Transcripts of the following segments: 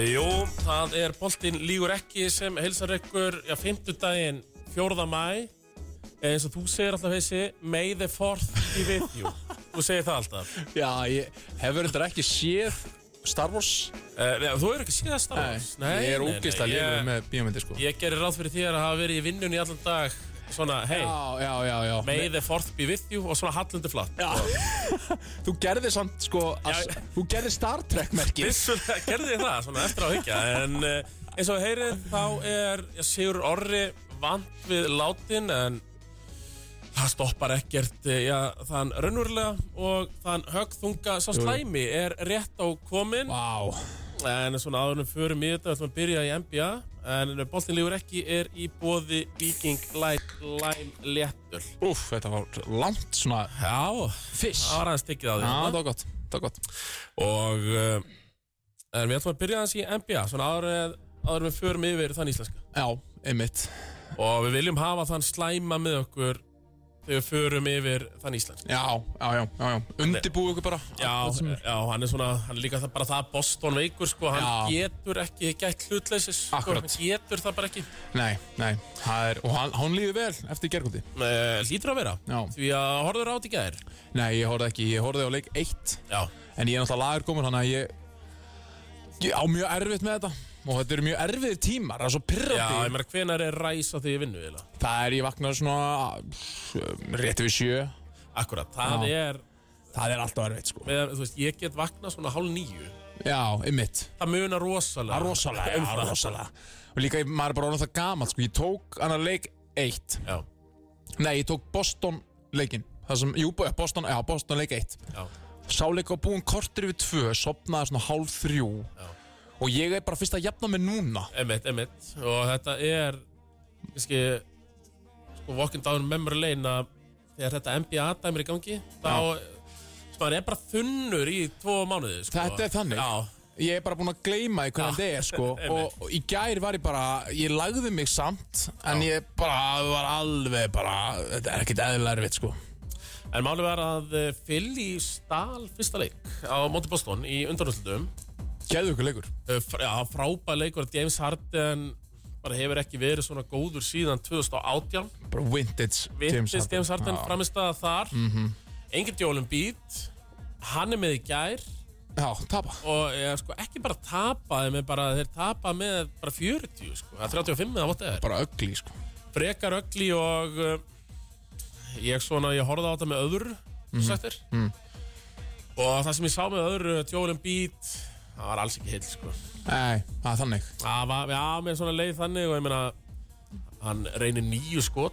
Jú, það er boltinn lígur ekki sem heilsar ykkur já, fimmtudaginn 4. mæ eins og þú segir alltaf þessi May the 4th be with you Þú segir það alltaf Já, ég hefur þetta ekki séð Star Wars uh, já, Þú eru ekki síðan starf Ég er ógist að lifa með bíómyndi sko Ég, ég gerir ráð fyrir þér að hafa verið í vinnunni í allan dag Svona, hei, Já, já, já, já May the 4th be with you og svona hallundi flatt Þú gerði samt sko að, sko. Já. Þú gerði Star Trek merkið Vissulega gerði ég það, svona eftir á að higgja En uh, eins og heyrið þá er já, Sigur Orri vant við látin En það stoppar ekkert eh, já, Þann raunverulega og þann högþunga Sá slæmi er rétt á komin Vá En svona áðurum förum í þetta Þannig að byrja í NBA En boltin lífur ekki er í bóði Viking Light Lime Léttul Úf, þetta var langt svona Já, Fish það Já, var aðeins stikkið á því það var gott Það var gott Og uh, en við ætlum að byrja aðeins í NBA Svona áður, áður við förum yfir þann íslenska Já, einmitt Og við viljum hafa þann slæma með okkur Þegar við förum yfir þann íslenska Já, já, já, já, já Undibúið okkur bara Já, Allt sem er- já, hann er svona, hann er líka það bara það Boston veikur, sko, hann Já. getur ekki gætt hlutleysis, sko, Akkurat. hann getur það bara ekki Nei, nei Það er Og hann, hann líður vel eftir gergundi uh, Lítur að vera, Já. því að horfður átt í gær Nei, ég horfði ekki Ég horfði á leik 1 Já, En ég er náttúrulega lagur komin Þannig að ég, ég á mjög erfitt með þetta Og þetta eru mjög erfiðir tímar Það er svo já, pirrandi ég meina, hvenær er ræs á því ég vinnu, eiginlega? Það er ég vaknaði svona Rétti við sjö Akkurat, það Já. er, Það er alltaf erfitt sko með, þú veist, ég get vaknað svona hálf nýju Já, ymmit Það munar rosalega Það er rosalega, Um já, það. rosalega Og líka, ég- maður er bara orðan það gamalt sko Ég tók annar leik eitt Já, Nei, ég tók Boston leikinn Það sem, jú, bo- Boston, já, Boston leik eitt já, Sá leik var búin kortir yfir tvö Sopnaði svona hálf þrjú Já. Og ég er bara fyrst að jafna mig núna emitt, emitt Og þetta er kannski, sko, Walking down memory lane að þegar þetta NBA dæmir í gangi þá sko, það er bara þunnur í tvo mánuði sko. Þetta er þannig. Já, Ég er bara búin að gleyma því hvernig Já. þetta er sko Einmitt. og, og í gær var ég bara Ég lagði mig samt En ég bara var alveg bara Þetta er ekkert eðlilega erfitt sko en málið var að eh, Philly stál fyrsta leik á móti Boston í undanúslutum Gæðu ykkur leikur Já, frábæð leikur að James Harden bara hefur ekki verið svona góður síðan 2018 Bara vintage Vittist James Harden Já. Mhm. framist að þar mm -hmm. Engin djólum být Hann er með í gær Já, tapa og er, sko, ekki bara tapaði með bara, þeir tapa með bara 40 sko, eða 35 eða vott eða Bara ögli sko frekar ögli og uh, ég svona, ég horfði á þetta með öðru mm -hmm. og það sem ég sá með öðru djólum být, það var alls ekki heil sko. Nei, það er þannig það var, já, með svona leið þannig og ég meina, hann reynir nýju skot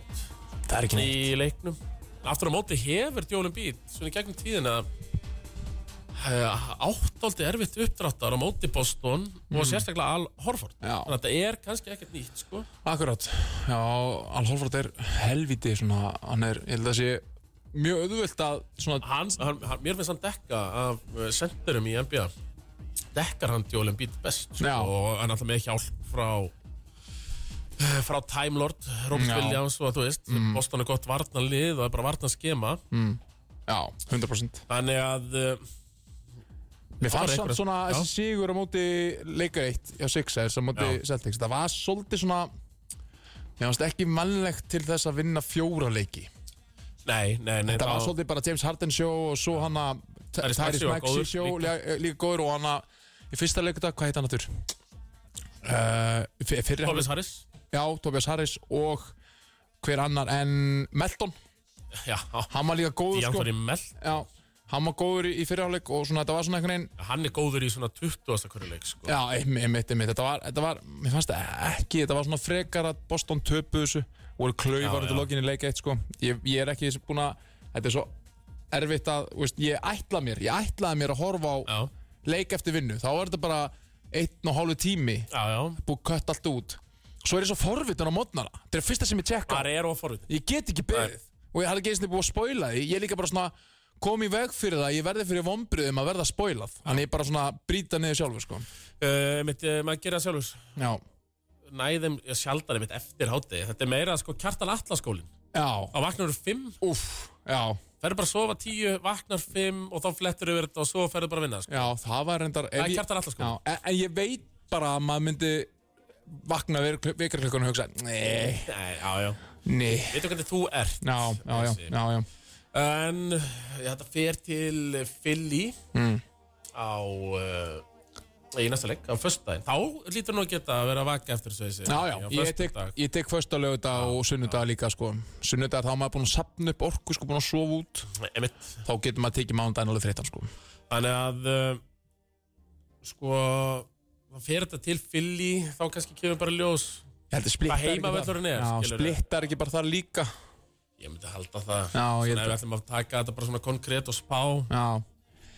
Það er ekki neitt í leiknum aftur á móti hefur Jólin Bít svona í gegnum tíðina eh, átt aldrei erfitt uppdráttar á móti Boston og sérstaklega Al Horford Mm. Já. þannig að þetta er kannski ekkert nýtt sko. Akkurát Já, Al Holford er helviti svona Hann er, ég held að sé Mjög auðvöld að svona hann, hann, hann, mér finnst hann dekka af eh, sendurum í NBA dekkar hann Jólin Bít best sko, Já. og hann alltaf með hjálp frá eh, frá Time Lord Robert Já. Mm. Williams og þú veist Boston er gott varnanlið og það er bara varnanskema Já, 100% þannig að eh, Mér Það var fannst samt einhverja- svona Já. þessi sigur á móti leika eitt hjá Sixers á móti Já. Celtics það var svolítið svona ég fannst ekki mannlegt til þess að vinna fjóra leiki nei, nei, nei það var þá- svolítið bara James Harden show og svo hann að Tyrese Maxey var góður show líka. líka. líka góður og hann að í fyrsta leikudag, hvað heit hann aftur? Uh, fyr- fyrri Thomas Harris hálfleik- Já, Tobias Harris og hver annar en Melton, já, hann var líka góður Anthony sko. Melt Já, hann var góður í fyrirháleik og svona, þetta var svona einhvern veginn hann er góður í svona 20. hverju leik sko. Já, einmitt, einmitt, einmitt. Þetta, var, þetta var, mér fannst það ekki Þetta var svona frekar að Boston töpu þessu voru Já, klaufar já. þetta lokinni leik eitt sko. ég, ég er ekki búin að Þetta er svo erfitt að þú veist, Ég ætla mér, ég ætlaði mér að horfa á já, leik eftir vinnu, þá er þetta bara einn og hálfu tími, já, já. búið kött allt út Svo er ég svo forvitin á mótnara Þetta er fyrsta sem ég tjekka á. það er oforvitið Ég get ekki beðið Og ég hafði ekki eins og búið að spoila því Ég er líka bara svona kom í veg fyrir það Ég verði fyrir vombriðum að verða spoilað Þannig ég bara svona brýta niður sjálfur sko uh, mitt, uh, maður gerir það sjálfur Já, næðum sjaldar mitt eftir háti þetta er meira sko kjartan allaskólin já, Þá vaknar þú fimm, úf, já, ferðu bara að sofa tíu, vaknar fimm og þá flettur yfir þetta og svo ferðu bara að vinna. Sko. já, það var reyndar ef Það er ég- Kjartan sko. Atlason. Já, en, en ég veit bara að maður myndi vakna vikarklökkun og hugsa Nei, Nei, já, já. nei Veitu hvernig þú ert? Já, já, já, já, já. En já, þetta fer til Philly Mm. á uh, í næsta leik, á föstudaginn. Þá lítur nú að geta að vera að vaka eftir þessu. Já, já, ég tek, ég tek fösta lögudag og sunnudag líka sko Sunnudag þá er maður búin að sapna upp orku sko, búin að sofa út Emitt. Þá getur maður að tekið mánudaginn alveg þreytan sko Þannig að uh, sko, það fer þetta til Philly, þá kannski kemur bara ljós. Ég held að splittar Hvað ekki þar. heimavöllurinn er, Já, skilurðu. splittar ekki bara þar líka Ég myndi halda það. Já, ég Svona held ef við að- ætlum að taka þetta bara svona konkrétt og spá Já,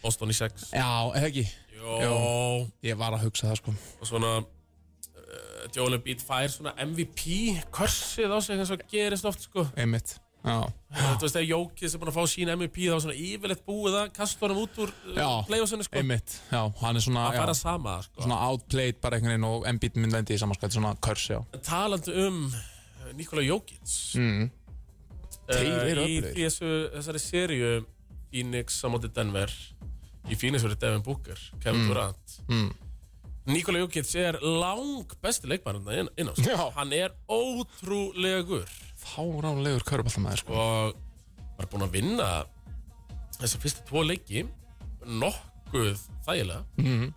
Boston í 6 já, eða ekki Jó, Jó. Ég var að hugsa það sko og svona uh, Jólin Beat fær svona MVP korsið á sig eins og gerist oft sko Einmitt Já, Þú veist þegar Jókis er búin að fá sín MVP þá er svona yfirleitt búið að kasta honum út úr Já. playoffsinu sko einmitt Já, hann er svona, Það fara já, sama sko svona outplayed bara einhvern veginn og embít minn lendi í samanskvætt svona körs, já Talandi um uh, Nikola Jókits mm. Þeir Eh, eru í öflugir. þessu, þessari seríu Phoenix á móti Denver í Phoenix verið Devin Booker, Kevin Durant Mm. Nikola Jokic er lang besti leikmann hérna inn, inn á sig. Já. hann er ótrúlegur Fáránlegur körbáltamæður sko og var búinn að vinna þessar fyrstu tvo leiki nokkuð þægilega Mhm.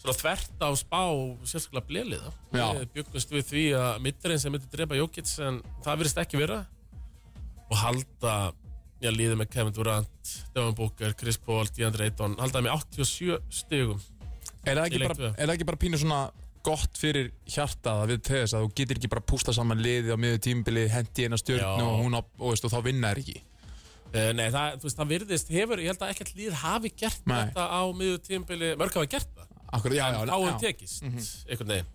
svona þvert á spá sérstaklega bleliða Já. við byggumst við því að mittarinn sem myndi drepa Jókits en það virðist ekki vera og halda já, liðið með Kevin Durant Devon Booker, Chris Paul, DeAndre Ayton halda með 87 stigum Er það Í ekki, leik bara, tvö. er það ekki bara pínu svona gott fyrir hjartað að við til þess að þú getur ekki bara pústa saman liðið á miður tímbili, hendi eina stjórn Já. og, hún á, og, veist, og þá vinna er ekki Eh, Nei, það, þú veist, það virðist hefur, ég held að ekkert lið hafi gert Nei. þetta á miður tímbili, mörg hafa gert það Akkur, já, já, en já, Mhm. þá hefur tekist einhvern veginn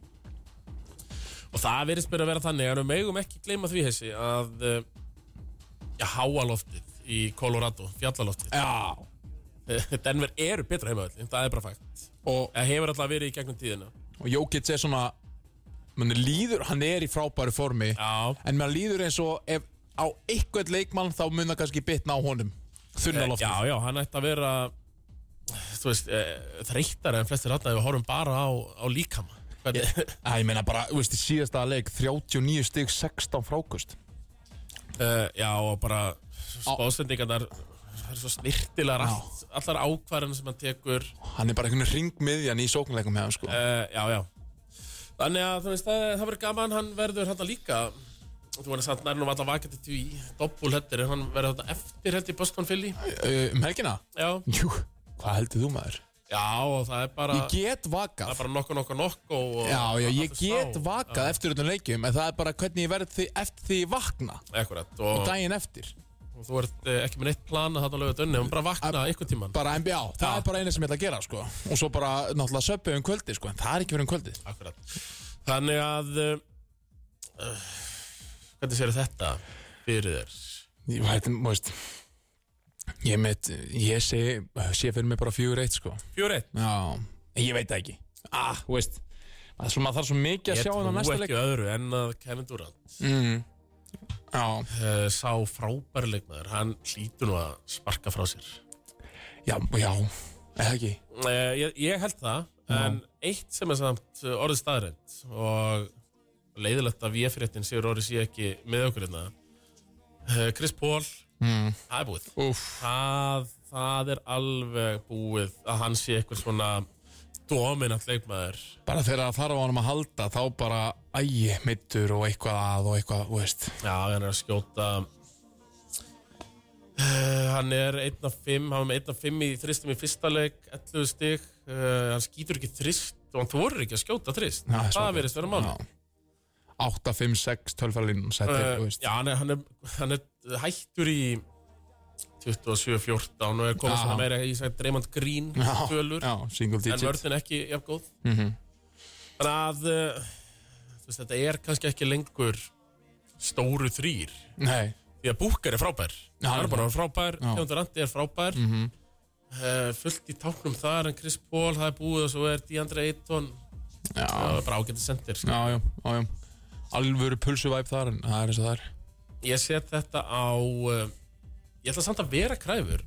og það verðist bara að vera þannig en við megum ekki gleyma því hessi að eh, já, háaloftið í Colorado, fjallaloftið Já. Denver eru betra heimavöldin, það er bara fakt Og, það hefur alltaf verið í gegnum tíðina og Jókits er svona mann líður, hann er í frábæru formi já, en mann líður eins og ef á eitthvað leikmann þá mun það kannski bitna á honum þunnaloft Eh, já, já, hann ætti að vera þú veist, eh, þreyttari en flestir hann ef við horfum bara á, á líkama Hvernig, Æ, ég meina bara, þú veist, í síðasta leik 39 stig 16 frákust Eh, já, og bara spásendingarnar það er svo snirtilegar allt, allar ákvarðan sem hann tekur hann er bara einhvern veginn ringmiðjan í sóknleikum hefðan sko uh, já, já Þannig að þú veist, það, það verður gaman, hann verður hann líka Þú verður samt nærnum alltaf vakandi til í doppul hættir En hann verður þetta eftir hætti í Boston Philly uh, um helgina? Já, Jú, hvað heldur þú maður? Ah. já og það er bara, Ég get það vakað er bara nokko, nokko, nokko og, Já, já, ég allir get sá. vakað eftir öllum leikjum En það er bara hvernig ég verð því eftir því ég vakna Akkurat, og, Daginn eftir og þú ert eh, ekki með neitt plana þarna lögut unni Hún bara vakna einhvern tímann Bara NBA, það Já. er bara eina sem ég ætla að gera sko Og svo bara náttúrulega söpbu um kvöldi sko En það er ekki verið um kvöldi Akkurat Þannig að uh, Hvernig séu þetta fyrir þér? Ég veit, þú veist Ég met, ég sé, sé fyrir mig bara fjögur eitt sko Fjóri eitt Já, en ég veit það ekki Ah, þú veist Það er svo, maður þarf svo mikið að Ég sjá hann á trú næsta leik ekki öðru en að Kevin Durant mm. Já, Eh, sá frábæri leikmaður hann hlýtur nú að sparka frá sér já, já, eða ekki Eh, ég, ég held það en eitt sem er samt eh, orðið staðrænt og leiðilegt að VF-réttin sigur orðið sé ekki með okkur hérna Eh, Chris Paul, mm. það er búið Úff það, það er alveg búið að hann sé eitthvað svona dominant leikmaður bara þegar það þarf á honum að halda þá bara ægi mittur og eitthvað að og eitthvað, þú veist Já, hann er að skjóta uh, Hann er 1 af 5 Hann var með 1 af 5 í þristum í fyrsta leik 11 stig uh, Hann skýtur ekki þrist og hann þorir ekki að skjóta þrist Já, svo Það gott. verðist vera mann Já. 8, 5, 6, 12 fælinn þetta er, þú uh, veist Já, hann er, hann, er, hann er hættur í 27-14 og er komið Já. svona meira í sagt, Dreymond Green tölur já, single en digit vörðin ekki jafn góð mm -hmm. Þannig að uh, þú veist, þetta er kannski ekki lengur stóru þrýr Nei, Því að Búkar er frábær Já, Hann er bara já. frábær, Já. Kevin Durant er frábær mm Mhm. Fullt í táknum þar En Chris Paul, það er búið og svo er DeAndre Ayton já, Það er bara ágætið sendir sko. já, já, já, já alvöru pulsuvæp þar en það er eins og það er Ég set þetta á uh, Ég ætla samt að vera kræfur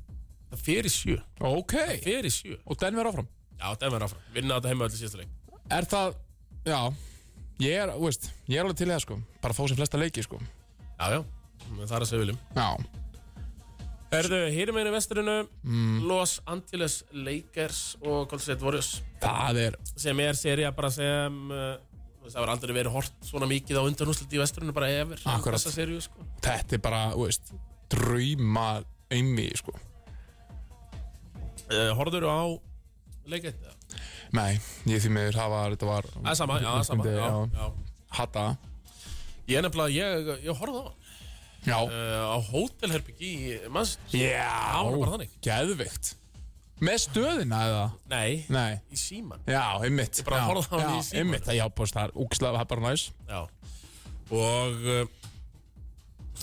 Það fer í sjö Ok, Fer í sjö og Denver áfram Já, það verður áfram Vinna þetta heima öll í síðasta leik Er það, já Ég er, þú veist, ég er alveg til í það sko Bara að fá sem flesta leiki sko Já, já Það er að segja viljum Já, Herðu, hér meina vesturinu mm. Los Angeles Lakers og Golden State Warriors það er sem er seria bara sem uh, það var aldrei verið hort svona mikið á undanúslit í vesturinu bara efir Akkurat. þessa serju sko Þetta er bara, þú veist Drauma einmi sko uh, Horður á leikett eða? Nei, ég því miður hafa Þetta var Það er sama, já, það er sama já, já. já. Hata Ég er nefnilega, ég, ég horfði á hann Já, uh, á hótelherbyggi í Manchester já það var bara þannig. Geðvikt Með stöðina eða? Nei, Nei í síman Já, einmitt bara Já, horfði á hann í Já, símanum. einmitt, já, búst, það er úkslega, það er bara næs Já Og uh,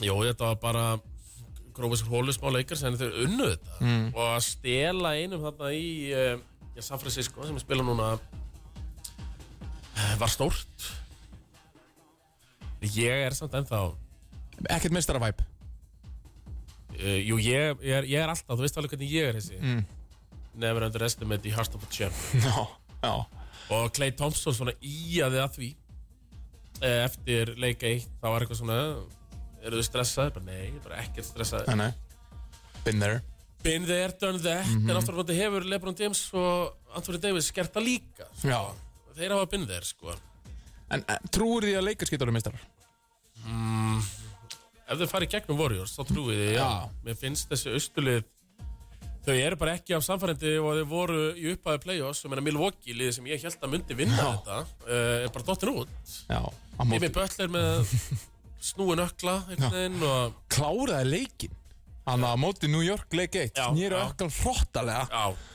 Jó, þetta var bara grófið sér hólu smá leikar sem þau unnu þetta og að stela einum þarna í uh, já, San Francisco sem spila núna eh, var stórt Ég er samt ennþá uh, Ekkert mestaravæp eh, Jú, ég, ég, er, ég er alltaf, þú veist alveg hvernig ég er þessi mm. Never underestimate the heart of a champ Já, já og Clay Thompson svona íaði að því Eh, eftir leik 1 þá var eitthvað svona eru þau stressaði? Bara nei, ég er bara ekkert stressaði Nei, nei Been there Been there, done that Mhm. en aftur á móti hefur Lebron James og Anthony Davis gert það líka Já þeir hafa been there sko En eh, trúir því að leikars geta orðið mistarar? ef þau farið gegnum Warriors þá trúið þið, já. Já. mér finnst þessi austulið þau eru bara ekki af samfærandi og þau voru í upphæðu play-offs og meina Milwaukee, liðið sem ég held að myndi vinna þetta, uh, er bara dottin út Já á móti- Jimmy Butler með snúin ökla einhvern veginn og Kláraði leikin Hann að móti New York leik 1 Já, Nýra já. ökkan hróttalega Já,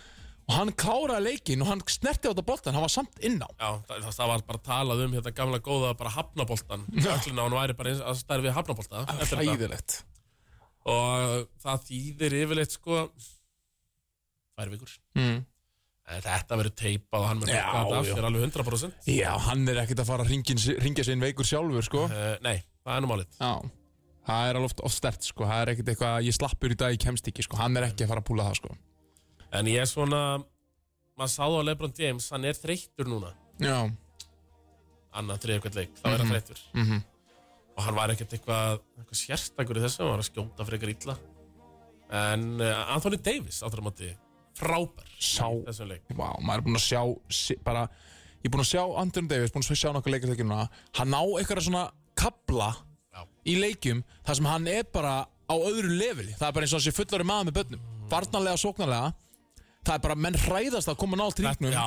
Og hann kláraði leikin og hann snerti á þetta boltan Hann var samt inná já, það, það- það var bara talað um hérna gamla góða bara hafnaboltan Öllina hann væri bara eins að stærfi hafnabolta eftir þetta. Hræðilegt Og það þýðir yfirleitt sko Tvær vikur Mm. En þetta verður teipað og hann verður Já, taka þetta af já. þér alveg 100% Já, hann er ekkert að fara að ringin, ringja sig inn veikur sjálfur, sko uh, Nei, það er nú málið Já Það er alveg oft, oft stert, sko Það er ekkert eitthvað að ég slappur í dag, ég kemst ekki, sko Hann er ekki að fara að púla það, sko En ég er svona Maður sáðu á Lebron James, hann er þreyttur núna Já Annað þriðið hvert leik, þá er hann þreyttur mhm. Og hann var ekkert eitthvað, eitthvað sérstakur í þessu Hann var að skjóta frekar illa En uh, Anthony Davis, áttur á móti Frábær í Sá þessum leik Vá, maður er búinn að sjá si- bara, ég er búinn að sjá Anthony Davis búinn að sjá nokkuð leikartekjum núna hann ná eitthvað svona kabla Já. í leikjum þar sem hann er bara á öðru leveli, það er bara eins og hann sé fullari maður með börnum, varnarlega, sóknarlega það er bara, menn hræðast að koma nátt ríknum Já,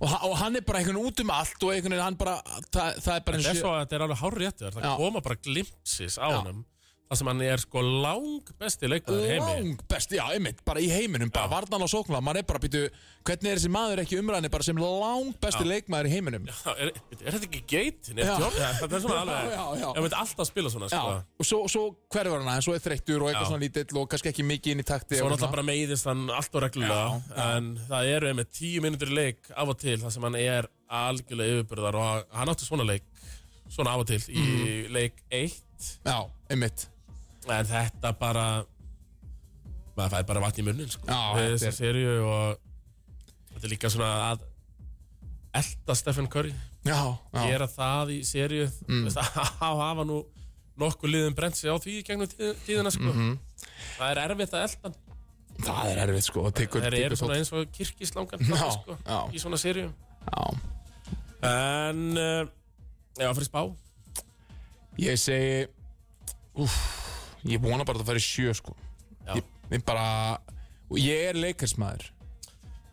og, ha- og hann er bara einhvern veginn út um allt og einhvern veginn hann bara, það, það er bara eins þetta og er svo að þetta er alveg hár réttur Það Já. koma bara glimpsis á honum Það sem hann er sko lang besti leikmaður í heimi lang best, já, einmitt, bara í heiminum bara varnarlega, sóknarlega, maður er bara, býtu hvernig er þessi maður ekki umræðinni bara sem lang besti leikmaður í heiminum Já, Er, er þetta ekki geitin? Er Já. Jordan- Þetta er svona alveg Já, já, já. Ég veit alltaf að spila svona sko. Já, og svo, svo hverfur hann aðeins, svo er þreyttur og eitthvað Já. svona lítill og kannski ekki mikið inn í takti Svo og náttúrulega svona. bara meiðist hann allt og reglulega En það eru einmitt tíu minnundur leik af og til Það sem hann er algjörlega yfirbyrðar Og hann átti svona leik Svona af og til í Mhm. leik 1 Já, einmitt En þetta bara maður fæði bara vatn í munnin sko. Já, Við þetta þessa er- serju og þetta er líka svona að elda Stephen Curry Já, já, gera það í serju mm. að hafa nú nokkuð liðum brent sig á því í gegnum tíð- tíðina sko. Mhm. það er erfitt að elda hann. það er erfitt sko Tikkur, þeir eru svona eins og kirkislangan Já, sko, já. í svona serju Já, en uh, já, fyrir spá ég segi Úff, ég vona bara að það færi sjö sko Já. ég, ég bara, og ég er leikarsmaður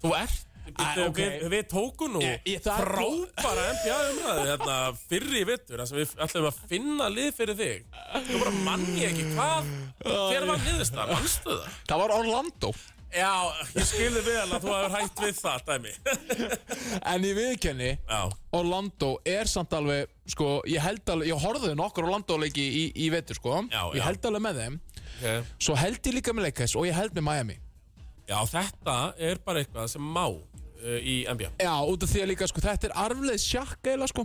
Þú ert Æ, ok. við, við tókum nú Ég- ég- það er- frábara NBA umræði hérna, fyrir í vittur þar sem við ætlum að finna lið fyrir þig þú bara manni ég ekki hvað hver var niðurst það, mannstu það Það var Orlando já, ég skilði vel að þú hefur hægt við það dæmi En ég viðkenni, já, Orlando er samt alveg, sko, ég held alveg Ég horfði nokkur Orlando-leiki í, í vetur sko Já, já. Ég held alveg með þeim okay. Svo held ég líka með leikars og ég held með Miami já, þetta er bara eitthvað sem má uh, í NBA Já, út af því að líka, sko, þetta er arfleðis sjakk eila, sko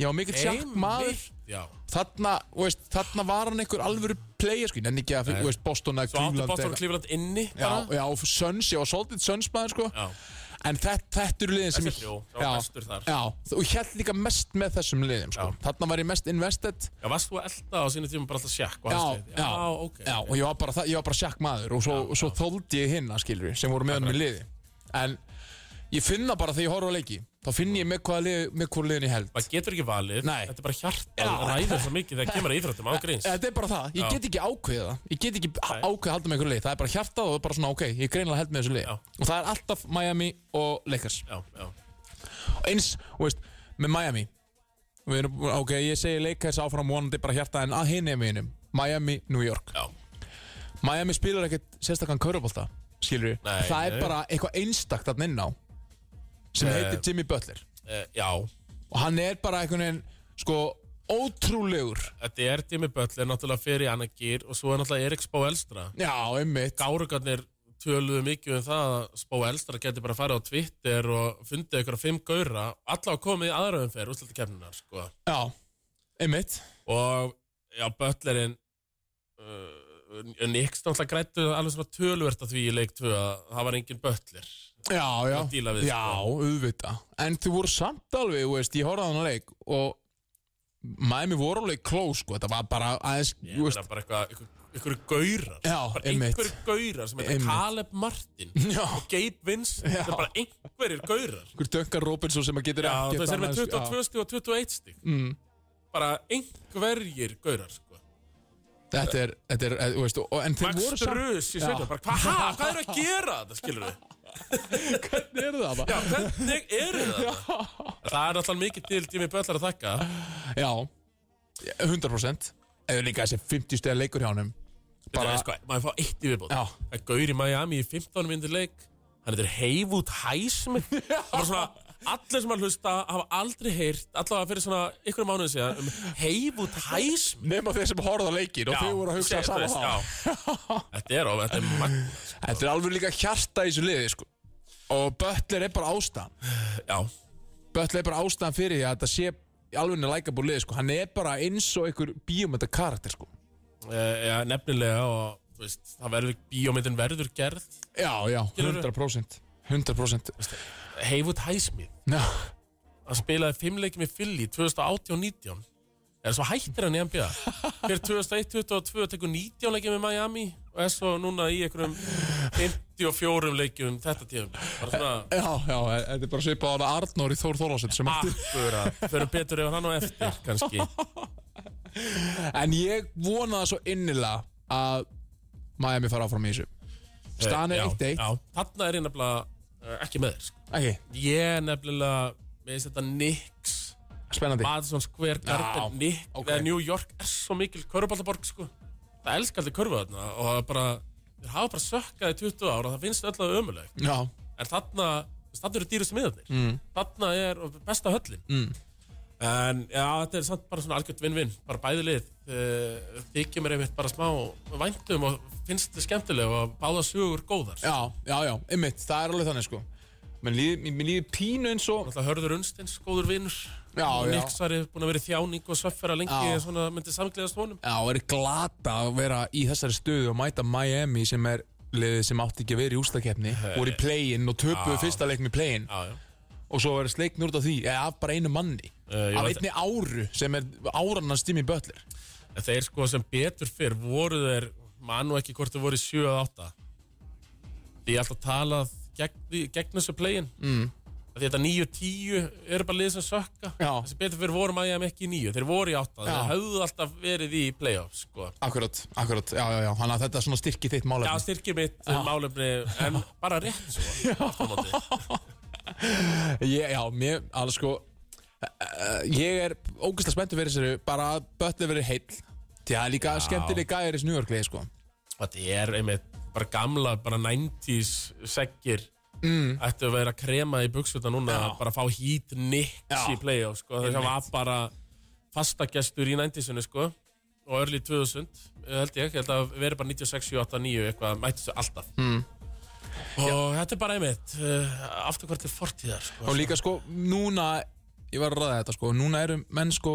Já, mikill sjakt maður Einmitt, Já, Þarna, þú veist, þarna var hann einhver alvöru player sko, en ekki að, þú veist, Boston eða svo átti Cleveland Boston eða- og Cleveland inni Já, bara já, og Suns, já, svolítið Suns maður sko Já. En þetta, þetta eru liðin sem Þessi þrjú, það var Já, bestur þar. Já, og ég held líka mest með þessum liðum sko Já. Þarna var ég mest invested Já, varst þú að elda á sínu tíma bara alltaf sjakk og Já, hans lið? já, já, ok já, og ég var bara, það- ég var bara sjakk maður Og svo, já, svo þóldi ég hinna, skilur við, sem voru með honum í liði En ég finna bara þegar ég horfa á leiki Þá finn ég með hvaða lið, með hvaða liðin ég held Maður getur ekki valið, Nei. þetta er bara hjarta Já. Eh, að ræða svo mikið þegar kemur að íþróttum á gríns Þetta er bara það, ég Já. get ekki ákveðið það Ég get ekki ákveðið að halda með einhverju lið Það er bara hjartað og bara svona, ok, ég greinlega held með þessu lið Já. Og það er alltaf Miami og Lakers Já, já, Og eins, þú veist, með Miami Við erum, ok, ég segi Lakers áfram vonandi bara hjarta en að hinn er meginum Miami, New York já, Miami spilar ekkert sérstakann körubólta skilur við, Nei, það er nei. bara eitthvað einstakt þarna inn á sem Eh. heitir Jimmy Butler e, já og hann er bara einhvern veginn sko ótrúlegur Þetta er Jimmy Butler náttúrulega fyrir Anna Gýr og svo er náttúrulega Erik Spó Elstra já, einmitt, Gárugarnir töluðu mikið um það að Spó Elstra geti bara farið á Twitter og fundið ykkur fimm gaura allavega komið í aðraðum fyrir úrslutakefninar sko. já, einmitt og já, Butlerinn uh, Nix náttúrulega grættu alveg svona töluvert að því í leik 2 að það var engin Butler já, já, að díla við, sko. já, auðvita en þið voru samt alveg, þú veist, ég horfði á hann leik og Miami voru alveg close, sko, þetta var bara aðeins, Ég þú veist, meina bara eitthvað, eitthvað, einhverju gaurar Já, bara einmitt. einhverju gaurar sem heitir Einmitt. Caleb Martin Já, Gabe Vince, Já. þetta er bara einhverjir gaurar hver Duncan Robinson sem að getur Já, ekkert það er með annað, sko. 22 stíg og 21 stíg mm. bara einhverjir gaurar sko. Þetta er, þetta er, eh, þú veist, og, en þeir Max voru samt Strus í Já. sveitinu bara, hva, ha, hvað er að gera þetta, skilur við Hvernig er það Já, bara? hvernig er þetta Það er alltaf mikið til Jimmy Butler að þakka Já, 100% Eða líka þessi 50 stegar leikur hjá hann bara, Bara- sko, maður fá eitt í viðbót Já. það er gaur í Miami í 15 minnir leik hann heitir Heifút Hæsmith það var svona allir sem að hlusta hafa aldrei heyrt allavega fyrir svona ykkur mánuðin síðan um Heifút Hæsmith Nefna þeir sem horfða leikir og þau voru að hugsa seg- saman þú það veist, já. þetta er of, þetta er magna Þetta er alveg líka hjarta í þessu liði, sko Og Böttler er bara ástæðan já, Böttler er bara ástæðan fyrir því að þetta sé alveg niður lækabúr liði, sko Hann er bara eins og einhver bíómynda karakter, sko e, ja, nefnilega og þú veist, það verður bíómyndin verður gerð Já, já, Skilurðu? 100% 100% Heifút Hæsmith Já, hann spilaði fimmleiki með Philly 2018 og 19 er svo hættir hann í NBA fyrir 2001-2022 tekur 19 leiki með Miami og er svo núna í einhverjum 54 leikjum þetta tíðum bara svona já, já, e, þetta er bara svipað á hana Arnór í Þór Þórlásson sem átti akkura fyrir betur ef hann á eftir kannski En ég vona það svo innilega að Miami fara áfram í þessu Staðan er Eh, Já, 1-1 já. þarna er ég nefnilega uh, ekki með þér sko. Ekki, ég er nefnilega með þess þetta Knicks spennandi Madison Square Garden Já, Knicks ok. eða New York er svo mikil körbaldaborg sko. það elskar allir körfa þarna og það er bara þeir hafa bara sökkað í 20 ára og það finnst öll að ömulegt Já, en þarna, þarna eru dýrustu miðarnir mm. þarna er besta höllin mm. en já, þetta er samt bara svona algjört vinn-vinn, bara bæði lið eh, þykir mér einmitt bara smá væntum og finnst þið skemmtileg og báða sögur góðar já, já, já, einmitt, það er alveg þannig sko Mér líður, mér líður pínu eins og Alltaf hörður Unstins, góður vinnur Já, já. Nixar er búin að vera í þjáning og sveffera lengi Já. svona myndi samgleðast honum Já, er glata að vera í þessari stöðu og mæta Miami sem er liðið sem átti ekki að vera í ústakefni voru í play-in og töpuðu fyrsta leiknum í play-in Já, já og svo er sleikn út af því eða af bara einu manni Eh, ég af veit- einni áru sem er árannan stími böllir En þeir sko sem betur fyrr voru þeir manu ekki hvort þeir voru í 7 eða 8 Því ég er alltaf talað gegn, því- gegn þessu playin mm. Því þetta 9-10 eru bara lið sem sökka Já. Þessi betur fyrr voru maður ekki í 9 Þeir voru í 8, Já. þeir höfðu alltaf verið í playoff sko. Akkurat, akkurat, já, já, já, þannig að þetta svona styrki þitt Já, málefni styrkið mitt, Já. málefni En bara rétt svo aftur á móti. Ég, já, mér, alveg sko eh, Ég er ógeðslega spenntur fyrir þessu bara að bötli verið heill því að líka skemmtileg gæri þessu njújörklið sko. Þetta er einmitt bara gamla, bara 90s seggir Mm. ættu að vera að krema í buksutna núna Já. bara að fá hít niks Já. í playoff sko. þess að var bara fastagestur í 90sinu sko. og örli 2000 eh, held ég, ég held að veri bara 96, 78, 9 eitthvað, mættu þessu alltaf mm. og þetta er bara einmitt uh, aftur hvert til eh, fortíðar sko. og líka sko núna ég var að ræða þetta sko Núna eru menn sko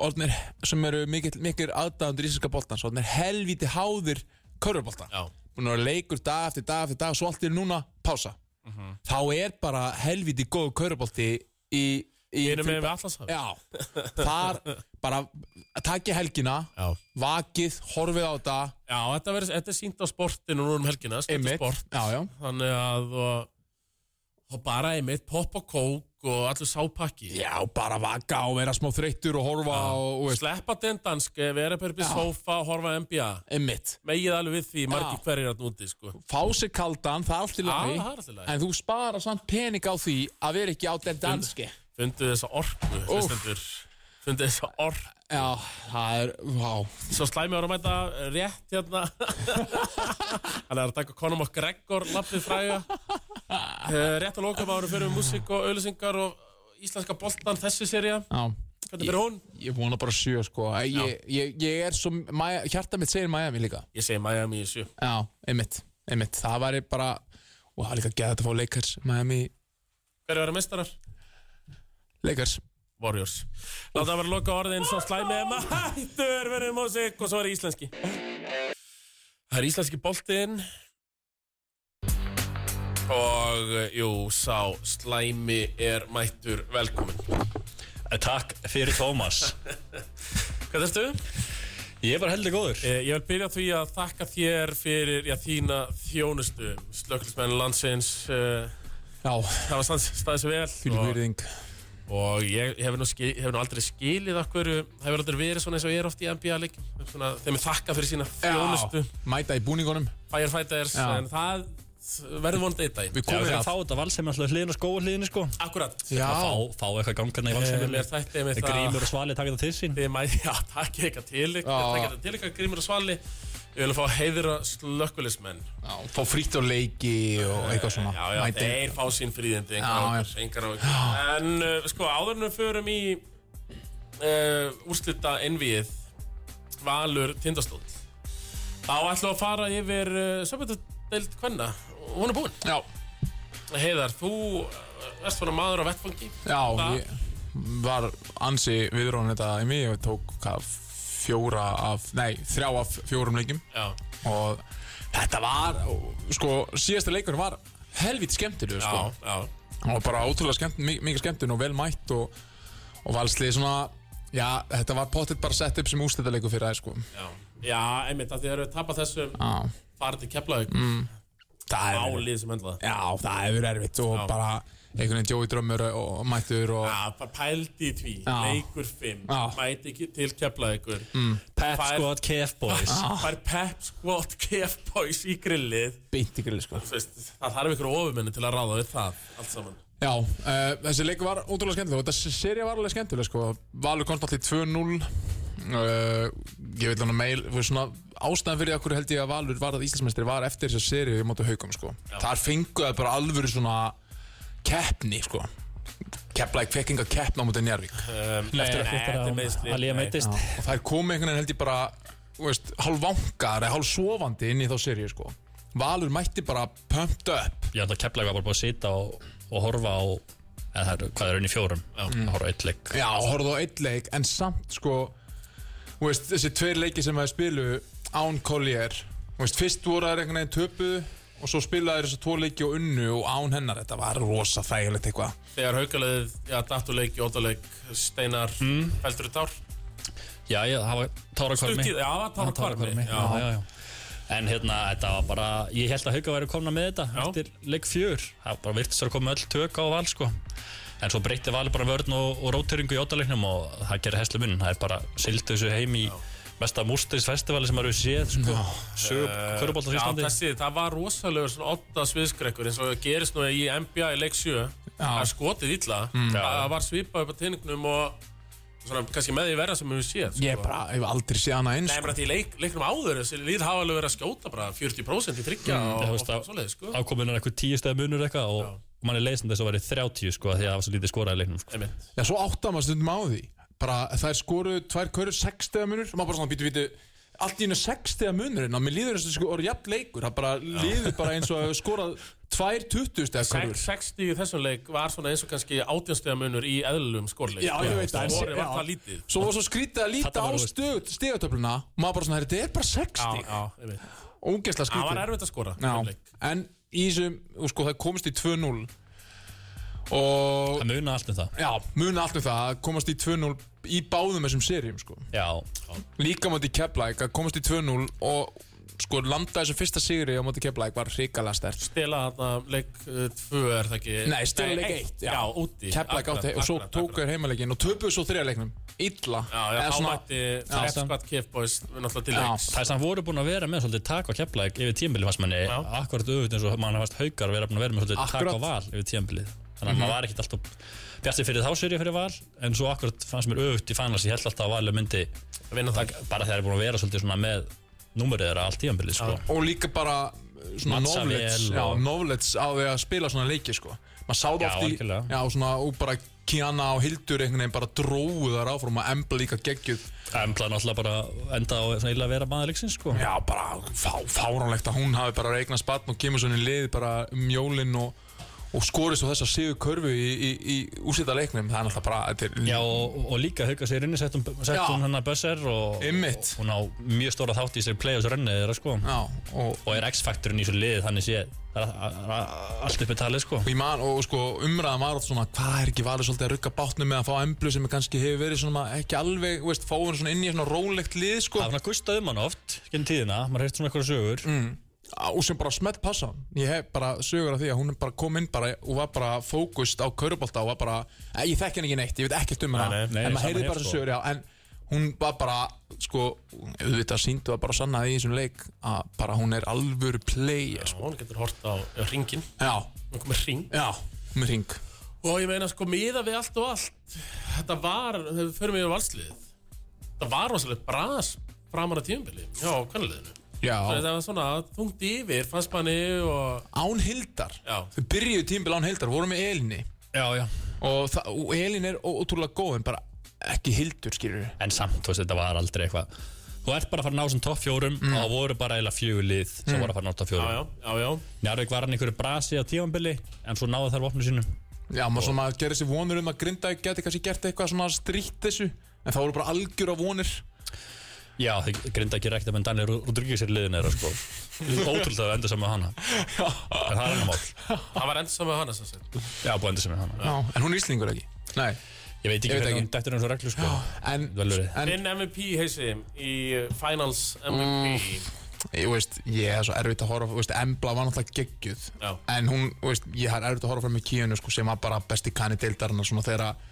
orðnir sem eru mikil, mikil aðdæðandur íslenska boltans orðnir helvíti háðir körfubolta Já. Búin að vera leikur dag eftir dag eftir dag svo allt er núna pása Mhm. Þá er bara helvíti góð körfubolti í, í Einu með við allans hafi Já, þar bara takja helgina Já. vakið, horfið á þetta Já, þetta, verið, þetta er sínt á sportinu núna um helgina Þetta er sport já, já. Þannig að og, og bara einmitt pop og kók og allur sápakki já, bara vaka og vera smá þreyttur og horfa og, og veist, Sleppa dendansk, vera upp upp í Já. sófa og horfa á NBA einmitt Megið alveg við því, margir Já. hverjir að núti sko. fá sér kaldan, það er allt í lagi Já, það er allt í lagi. en þú sparar samt pening á því að vera ekki á den danski já, Fundu þessa orku hlustendur. Fundu þessa orku það er, vá Svo slæmi ára að mæta rétt hérna Hann er að taka konum og Gregor Lappið fræga Eh, Rétt að lokum ára fyrir við músík og auðlýsingar og íslenska boltan þessi seria já. Hvernig fyrir hún? ég vona bara sjö sko ég, Já. ég, ég, er svo, Maja, hjarta mitt segir Miami líka Ég segi Miami í sjö já, einmitt, einmitt, það væri bara og það er líka geðað að fá leikars Miami, Hver verður mestarar? leikars Warriors Láta það vera loka orðin svo slæmi Emma hættur verður músík og svo er íslenski Það er íslenski boltinn Og eh, jú, sá slæmi er mættur velkomin Takk fyrir Tómas Hvað erstu? Ég var heldur góður Eh, Ég vil byrja á því að þakka þér fyrir já, þína þjónustu slökkulismenn landsins uh, já, hafa stans- staðið sér vel fylgur og, virðing og ég hef nú, skil, hef nú aldrei skilið okkur, hefur aldrei verið svona eins og ég er oft í NBA leik svona, þeim er þakka fyrir sína þjónustu já, mæta í búningunum firefighters, Já. en það verður vonandi eitt dag við Já, komum við í erum að að fá þetta valsemi alltaf hliðin og skóa hliðin sko. Akkurat já, Fá, fá eitthvað gangana í Eh, valsemi Mér þætti með það Grímur og Svali taka þetta til sín Þið mæði, já, takk eitthvað til ykkur, Já. takk eitthvað til ykkur, Grímur og Svali. Við viljum fá að heiðra slökkulismenn. já, fá frítt og leiki og eitthvað svona Já, já, Mæta í- þeir fá sín fríðindi Já, engar já. áhyggjur, engar áhyggjur En uh, sko, áður en við förum í uh, úrslita einvið Valur Tindastóll Þá ætlum við að fara yfir uh, söpjöldadeild Kvenna og hún er búin já, Heiðar, þú uh, erst svona maður á vettfangi já Það- ég var ansi viðrónin þetta í mig og tók hvað fjóra af, nei, þrjá af fjórum leikjum Já, og þetta var, sko, síðasta leikur var helvít skemmtilegur, já, sko já og bara ótrúlega skemmt, mi- mikið skemmtun og vel mætt og, og valslið svona já, þetta var pottet bara sett upp sem ústættaleiku fyrir það, sko Já, já einmitt, að þið eru að tapa þessum já, farið til Keflavík mm. það er Álið sem hendla Já, það hefur verið erfitt og bara einhvern veginn Joey Drömmur og og mættur og Já, bara pældi í tví, Já. leikur fimm Já. Mm. mæti ekki til Keflavíkur Pep Fær- Squad KF sko, Boys fær pep squat KF boys í grillið beint í grili sko. Þú veist, það þarf ykkur ofumenni til að ráða við það allt saman Já, uh, þessi leikur var ótrúlega skemmtileg og þessi serið var alveg skemmtileg sko. Valur komst alltaf í 2-0 uh, ég veit hann að meil fyrir svona ástæðan fyrir okkur held ég að Valur var að Íslandsmeistri var eftir þessi serið í mótu haugum sko. Þar fengu það bara alvöru svona keppni sko. Keplæk fekk enga keppna á móti Njarvík um, Nei, eftir, ekki nei, eftir eftir að meðsli Alía meittist og þær komu einhvern veginn held ég bara þú veist, hálf vangar eða hálf sofandi inn í þá seríu sko. Valur mætti bara pumped up Ég ætla að kepla eitthvað bara búið að sita og, og horfa á eða það eru, hvað er unni fjórum að horfa á eitt leik já, horfðu á eitt leik en samt sko þú veist, þessi tveir leiki sem þær spilu án Collier þú veist, fyrst voru þær einhvern veginn töpuðu og svo spilaði þessi tvo leiki og unnu og án hennar, þetta var rosa þægilegt eitthvað þegar haukalið, já, datuleik, jótaleik steinar, mm. feldur í tár Já, ég, það var tárakvarmi Stuttið, já, það tára kvarmi já, já, já, já. En hérna, þetta var bara, ég held að Hauka væri komna með þetta Já. eftir leik fjör. Það bara virtist að koma öll tök á val, sko. En svo breytti vali bara vörn og, og róteringu í ótaleiknum og það gerir heslu munn. Það er bara sildu þessu heim í mesta múrstisfestivali sem eru séð, sko. Sögur körubóltar í já, Íslandi. þessi, það var rosalegur svona otta sviðskrekkur eins og gerist nú í NBA í leik 7 það er skotið illa Mm. það var svipað upp á tinningnum og svona, kannski með því verra sem við séð sko. ég bara, ég hef aldrei séð hana eins Nei, bara því leik, leiknum áður, þessi lið hafa alveg verið að skjóta bara 40% í tryggja Mm, Já, þú og, og, veist, og svoleiði, sko. Ákominunar eitthvað tíu stæði munur eitthvað og, og manni leiðist þess að verið 30, sko, af því að það var svo lítið skoraði leiknum, sko. Einmitt. Já, svo áttam að stundum á því bara þær skoru tvær körur, sex stegamunur og maður bara svona býtu, býtu allt í hennu sex þegar munurinn og mér líður eins og sko, og jafn leikur það bara líður bara eins og að skora tvær tuttust eða Sex- hverfur 60 í þessum leik var svona eins og kannski átjánstegamunur í eðlum skorleik Já, ég veit það, það en- Skori var já. það lítið svo var svo skrítið að líta á Þetta var, þú veist- stöð stigatöfluna og maður bara svona, þetta er bara sex Já, stig já, ég veit ógeðslega Það var skrítið erfitt að skora þeim Já, leik. en í þessum, og sko það komist í 2-0 og Það muna allt um það já, muna allt um það að komast í 2-0 í báðum þessum serjum sko. Já, líka á móti Keflæk að komast í 2-0 og sko landa þessum fyrsta sigri á móti Keflæk var hrikalega stert Stela þarna leik 2 er það ekki Nei, stela leik eitt, eitt, já. Já, úti Keflæk Akkurat, átti og svo akkurat, tóku akkurat. þér heimaleikinn og töpuðu svo þriðarleiknum illa Já, já, Eða þá svona- mætti Feskvatt Kefbóis Náttúrulega til Já. leiks það er samt voru búin að vera með svolítið tak á keflæk yfir tímbilið fannst manni Já. akkurat auðvitað eins og mann hafast haukar að vera búin að vera með svolítið Akkúrat. Mhm. tak á val yfir tímbilið þannig að maður var ekkert alltaf bjartið fyrir þá sérið fyrir val en svo akkurat fannst mér auðvitað í fannast ég held alltaf að valið myndi Að vinna það bara þegar það er búin að vera svolítið svona með númerið þeirra allt tímbilið sko. og líka bara uh, svona Matsa novlets, vel já, og- novlets á því að spila svona leiki sko. maður sá það Já, oft í algjörlega. já, svona, og bara Kiana og Hildur einhvern veginn bara dróðu þar áfram að embla líka geggjuð Embla náttúrulega bara enda á svona illa að vera maður leiksins sko. já bara fá, fáránlegt að hún hafi bara reiknað spattn og kemur svona í lið bara mjólinn og og skorið svo þess að séu körfu í, í, í úsita leiknum, það er náttúrulega bara þetta er Já, og, og líka hauka sér inni sett hún, sett Já. hún hennar hérna bösser og, og Einmitt. hún á mjög stóra þátt í sér play-offs renni þeirra sko. Já, og, og er X-fakturinn í svo liðið þannig sé það er a- a- a- allt uppið talið sko. og, ég man, og sko, umræðan var oft svona hvað er ekki valið svolítið að rugga bátnum með að fá emblu sem kannski hefur verið svona ekki alveg, veist, fá hún svona inn í svona rólegt lið sko. Það er svona gustað um hann oft genn tíðina, maður hefði svona eitthvað sögur Mm. og sem bara smelt passa ég hef bara sögur af því að hún bara kom inn bara og var bara fókust á körubolta og var bara, eh, ég þekk henni ekki neitt, ég veit ekkert um hana Nei, nei, nei, en sama maður heyrði hér, bara þessu sko. sögur, já, en hún var bara, sko auðvitað síndu að bara sanna því í þessum leik að bara hún er alvöru player, Hún getur hort á ringin sko já, Hún komið ring já, með ring Og ég meina sko, miða við allt og allt Þetta var, þegar við förum yfir valsliðið Þetta var rosalega bras framar að tíumbili, já, kannarliðinu já, Þetta var svona þungt yfir, fannst manni og án hildar Já. þau byrjuðu tímbil án hildar, voru með Elini Já, já og, það- og Elin er ó- ótrúlega góð en bara ekki hildur, skilur En samt, þú veist, þetta var aldrei eitthvað Þú ert bara að fara að ná sem topp fjórum Mm. og það voru bara eiginlega fjögur lið sem voru að fara að ná topp Já, fjórum já, já, já Njarvík var hann einhverju brasi á tímanbili en svo náðu þær vopnu sínum Já, maður svona maður gerir sér vonur um að Grindavík geti kannski gert eitthvað svona strítt þessu En það voru bara algjör á vonir Já, þau grinda ekki rekta menn Daniel Rodríguez er liðin þeirra sko Ótrúlega að enda saman með hana En það er hann mál Það var endur saman hana, sem sagt Já, búið að enda saman með hana Já, en hún er íslingur ekki Nei Ég veit Ég ekki veit hvernig ekki. hún dættur eins og reglu sko En, Velur þið. en Minn MVP, heisi, í Finals MVP Mm. ég veist, ég er svo erfitt að horfa þú veist, Embla var náttúrulega geggjuð Já. En hún, þú veist, ég er erfitt að horfa fram með kíunu sko, Sem var bara besti kanni deildarinnar Svona þegar að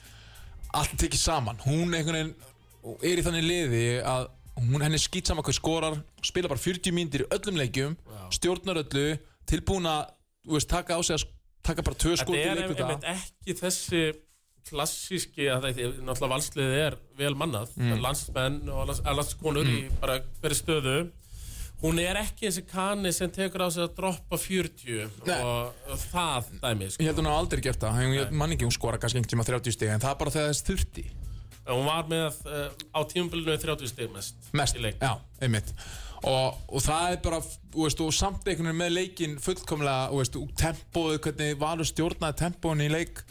allt er tekið saman Hún einhvern veginn er í þannig liði að hún henni skýt saman hvað skorar spila bara 40 mínútur í öllum leikjum stjórnar öllu, tilbúin að þú veist, taka á sig að sk- taka bara tvö skot Þetta í er leikvita einmitt ekki þessi klassíski, að þetta er- náttúrulega valsliðið er vel mannað, Mm. landsmenn og lands, eh, landskonur í bara hverju stöðu hún er ekki þessi kanni sem tekur á sig að droppa 40 Nei. og það dæmi sko. Ég held hún hafa aldrei gert það, ég man ekki hún skora kannski einhvern tíma 30 stig en það er bara þegar þess þurfti hún var með uh, á tímabilinu 30 stig mest, mest, í leik já, einmitt og, og það er bara, þú veist, og samt einhvern veginn með leikinn fullkomlega, þú veist, og tempóið, hvernig valur stjórnaði tempóin í leik,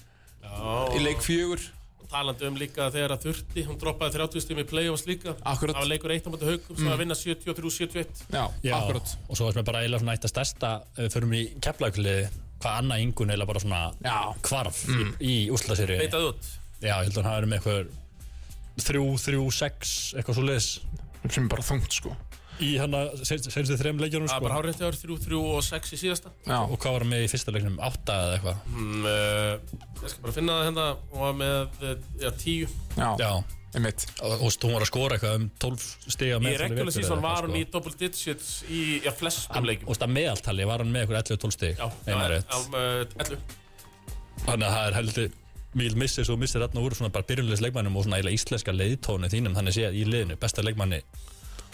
í leik fjögur talandi um líka þegar að þurfti hún droppaði 30 stig með playoffs líka Akkurat. Mm. það var leikur eitt á móti haugum sem var að vinna 73-71 Já, Já, akkurat og svo er mér bara eiginlega svona eitt að stærsta ef við förum í keflaugliði hvað annað yngun eiginlega bara svona Já. hvarf Mm. í, í úslasýri Já, beitað út ég held að hann hafi verið með eitthvað þrjú, þrjú, sex, eitthvað svo liðs sem er bara þungt, sko í hann að senstu þrem leikjunum það sko. var hárétti ári 3-3 og 6 í síðasta Já, og hvað var hann með í fyrsta leiknum, átta eða eitthvað Mm, eh, ég skal bara finna það hérna og var með eh, já, tíu já, Já, einmitt og og hún var að skora eitthvað um 12 stiga í með regular season var hún í sko. double digits í já, flestum leikjum og það meðaltali var hann með eitthvað 11-12 stig já, já, ef ég man já, rétt. eh, 11 þannig að það er heldur mýl missir svo missir þarna úr svona bara byrjunleis leikmannum og svona eiginlega íslenska leiðtónu þínum þannig séð í liðinu, besta leikmanni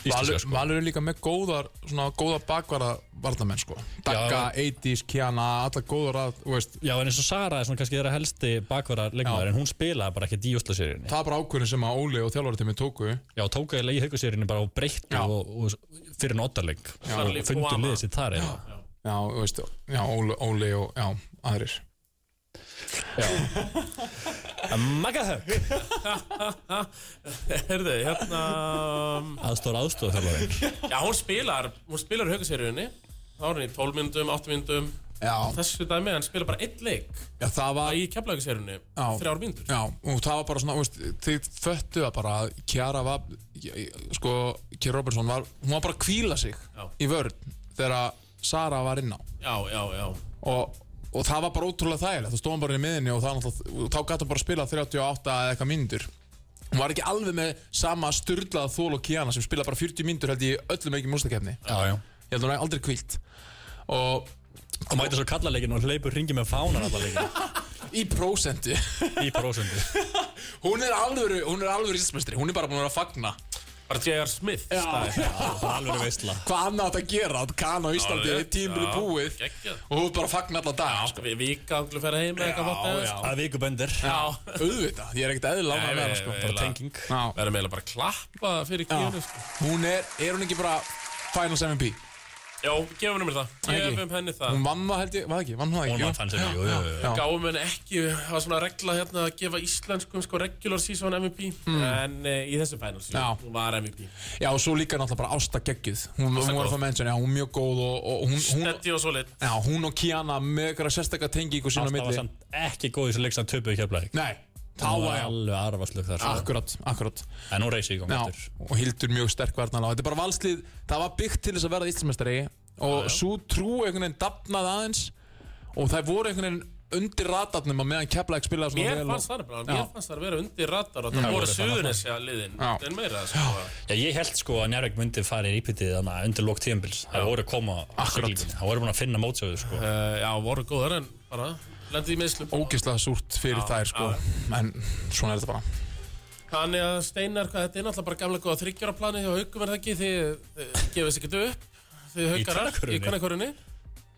íslenska Valur, sko. Valur er líka með góðar svona góða bakvara varnamenn sko Dakka, Eidís, Kiana, alla góðar að þú veist, Já, en eins og Sara er svona kannski þeirra helsti bakvara Já. leikmaður, en hún spilaði bara ekki í Úslandsseríunni. það er bara ákvörðin sem að Óli og þjálfartími tóku Já, tók eða í haugaseríunni bara og breyttu Já. og, og fyrir en oddaleik Sarli og fundu Obama. liðið sitt þar eða. Já, þú veist, já, Óli, Óli og já, aðrir Magahögg! Herðu, hérna Aðstór aðstóð þjálfarinn. Já, hún spilar, hún spilar í haukaseríunni Þá er hún í 12 myndum, 8 myndum Já, Þessu dæmi, hann spilar bara einn leik já það var Í keflaukaseríunni, Já. þrjár myndur Já, og það var bara svona, þú veist, þið föttu það bara að Kjara var, ég- ég- sko, Kjara Robertson var, hún var bara að kvíla sig Já. í vörn þegar að Sara var inn á Já, já, já og, og það var bara ótrúlega þægilegt, þá stóðum bara í miðinni og það, náttúrulega- og þá gæti hún bara að spila 38 eða eitthvað myndur. Hún var ekki alveg með sama styrlaða þól og Kiana sem spila bara 40 myndur held ég í öllum ekki mústakefni. Já, já. Ég held hún er aldrei kvílt. Og Og mæti svo kallarleikin og hleypur ringi með fánan alla leikin í prósentu, í prósundi. hún er alvöru, hún er alvöru íslmestri, hún er bara búin að vera að fagna. Bara J.R. Smith Já, Alveg veistla. hvað annað átt að gera átt Kana á Íslandi Já, er tímbil já, búið geggjað. og þú ert bara að fagna alla dag sko. Við vikanglu fer heim eða eitthvað vatn eða, sko. Að vikuböndir. Já, auðvitað, ég er ekkert eðla ánægð Nei, með hana nei, sko. nei, Bara eiginlega. tenging. Já. verðum eiginlega bara að klappa fyrir kínu sko. hún er, er hún ekki bara Finals MVP Já, gefum henni mér það, Ekki. gefum henni það hún vann það held ég, var það ekki, vann hún það Hún ekki vann fann sem, jú, jú, jú. Já. gáum henni ekki, það var svona regla hérna að gefa íslenskum sko regular season MVP en e, í þessu finals, jú, Hmm. Já. hún var MVP já og svo líka náttúrulega bara Ásta geggjuð hún, hún var góð. það mennsjón, já hún er mjög góð og, og hún, hún, Steady og solid já, hún og Kiana með eitthvað sérstakka tengi ykkur sína á Það var milli samt ekki góð í þessu leik sem töpuði keflaði. nei, þá Það var var já alveg arfaslug þar. sko. akkurat, akkurat En hún reysi í gang Já, eftir. og Hildur mjög sterk varnarlega og þetta er bara valslið, það var byggt til þess að verða Íslandsmeistari og svo trú einhvern veginn dafnað aðeins og það voru einhvern veginn undir ratarnum að meðan Keflæk spilaði svona Mér vel fannst það nefnilega, mér Já. fannst það að vera undir radar og það voru voru það suðunisja liðin Já. en meira sko. Já, ég held sko að Njarvík myndi fara í rýpitið þannig að undir lók tíðanbils. Það voru að koma á Akkurat. siglingunni. Það voru búin að finna mótsöðu sko. uh, Já, voru góðar en bara lendið í meðslum og ógislega súrt fyrir þær sko, já. en svona er þetta bara Þannig að Steinar, hvað þetta er náttúrulega bara gamla góða þryggjara planið hjá haugum er það ekki þið þið gefið sér ekki upp þið haugarar kvennakörfunni? í kannakorunni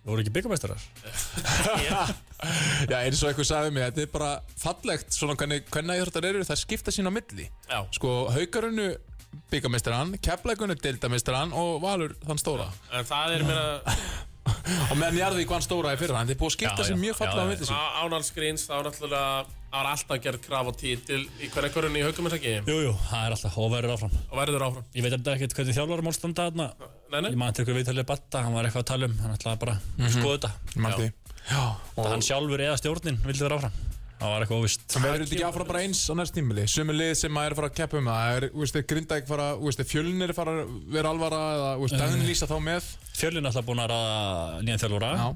Það voru ekki byggamestrar. Já, eins og eitthvað sagði mig, þetta er bara fallegt svona hvernig, hvernig íþróttar eru, það skipta sín á milli Já, sko, haukarunnu byggameistarann, Keflækunnu deildameistarann og Valur þann stóra en það er meira og meðan Jarðvík vann stóra í fyrra, en þetta er búið að skipta Já, sín já, mjög já, fallega á já. milli sín ánalskríns þá náttúrulega það var alltaf gerð kraf á títil í kannakorunni í haugum er það ekki Jújú, það er alltaf og verður áfram. og verður áfram Ég veit ekki hvernig þjálfarmál standa þarna. Nei, nei, Ég man til ykkur viðtalið batta, hann var eitthvað að tala um, hann ætlaði bara að skoða þetta. Mhm. Ég man því. Já, og- Hann sjálfur eða stjórnin vildi vera áfram. Það var eitthvað óvist. Það verður þetta ekki áfram bara eins á næst tímili Sumi lið sem maður er að fara að keppa um það Það er, þú veist, grindæk fara, þú veist, fjölnir fara að vera alvara eða, þú Eh. veist, daginn lýsa þá með Fjölin er alltaf búin að ræða nýjan þjálfara. Já,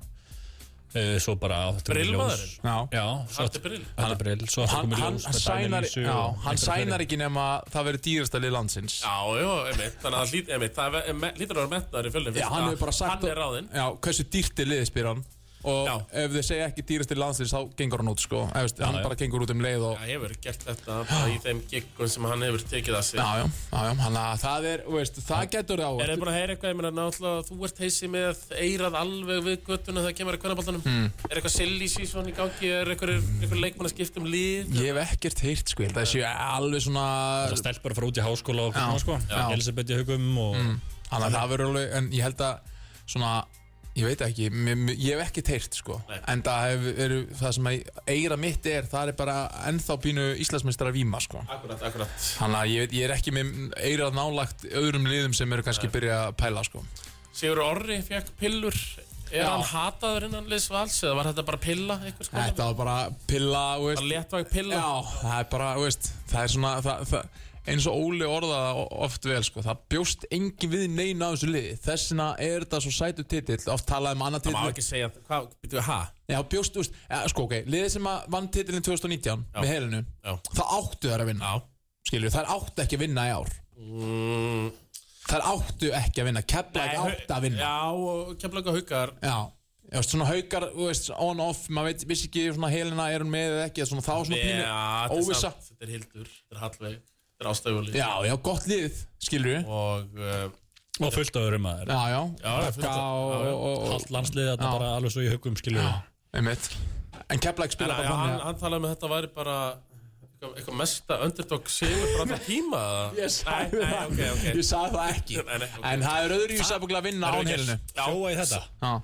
Eh, Svo bara áttu við ljós. Brillmaðurinn? já Já, svo Hatti Brill. Hatti Brill, svo áttu Hann, komið hann, ljós. með sænar, Dagný Lísu já, og hann einhverja sænar fleiri. ekki nema það verður dýrasta lið landsins Já, já, einmitt, þannig að það lít- einmitt, það er- er me- lítur að vera metnaður í fjölnum Já, hann hefur bara sagt Hann er ráðinn Já, hversu dýrt er liðið spyr hann Og Já. ef þið segja ekki dýrasta lið landsins þá gengur hann út, sko Ef, veist, Hann já. bara gengur út um leið og Það hefur gert þetta bara í þeim giggum sem hann hefur tekið að sig Já, já, já, já, hann að það er, þú veist, það getur það Er þið búin að heyra eitthvað, ég meina náttúrulega þú ert heisi með eirað alveg við göttuna þegar kemur að kvennabaltanum Hmm. mm. Er eitthvað silly season í gangi, er eitthvað, eitthvað leikmann að skipta um lið Ég hef ekkert heyrt, sko, ég held að það séu alveg svona Það stelpur að fara út í háskóla og koma, sko. já. Elisabeth í hugum og... Þannig að það verður alveg, en ég held að svona, ég veit ekki, mér, mér, ég hef ekki teirt sko Nei. En það hef, er, það sem að eira mitt er, það er bara ennþá pínu Íslandsmeistrar víma sko Akkurat, akkurat Þannig að ég, veit- ég er ekki með eirað nálagt öðrum liðum sem eru kannski byrjað að pæla sko Sigur Orri fekk pillur Er Já. hann hataður innan Liz Vals eða var þetta bara pilla einhvers konar? Þetta var bara pilla, þú Bara veist léttvæg pilla Já, það er bara, þú veist, það er svona, það, það, eins og Óli orðaði það o- oft vel sko Það bjóst engin við neina á þessu liði Þess vegna er þetta svo sætu titill, oft talaði um annað Það má titill ekki segja, hvað, byrjuðu, hæ? Já, bjóst, þú veist, ja, sko, ok, liðið sem að vann titilin 2019 með helinu, Já. það áttu þær að vinna, Já skilju, þær áttu ekki að vinna í ár. mm. Þær áttu ekki að vinna, Keflæk áttu að vinna. Já, og kemlaug og haugar Já. Já, veist, svona haukar, þú veist, on-off, maður veit, vissi ekki, svona helina er hún með eða ekki, svona þá svona pínu, Já, þetta er óvissa. samt, þetta er hildur, þetta er hallveg þetta er ástæðjúli Já, já, gott lið, skilur við og uh, og fullt af öðrum maður Já, já, Já, fullt Bakka af- og, já, já. og, og, allt landsliðið þarna Já. bara alveg svo í hugum skilur Já, einmitt En Keflæk en, spila að, bara hann, þannig hann talaði með þetta væri bara eitthvað, eitthvað mesta underdog sigur bara þetta tíma að- Ég nei, sagði nei, það, ok, ok ég sagði það ekki Nei, nei, ok. En það er öðru í sæfuglega að vinna án helinu sjóa í þetta Já,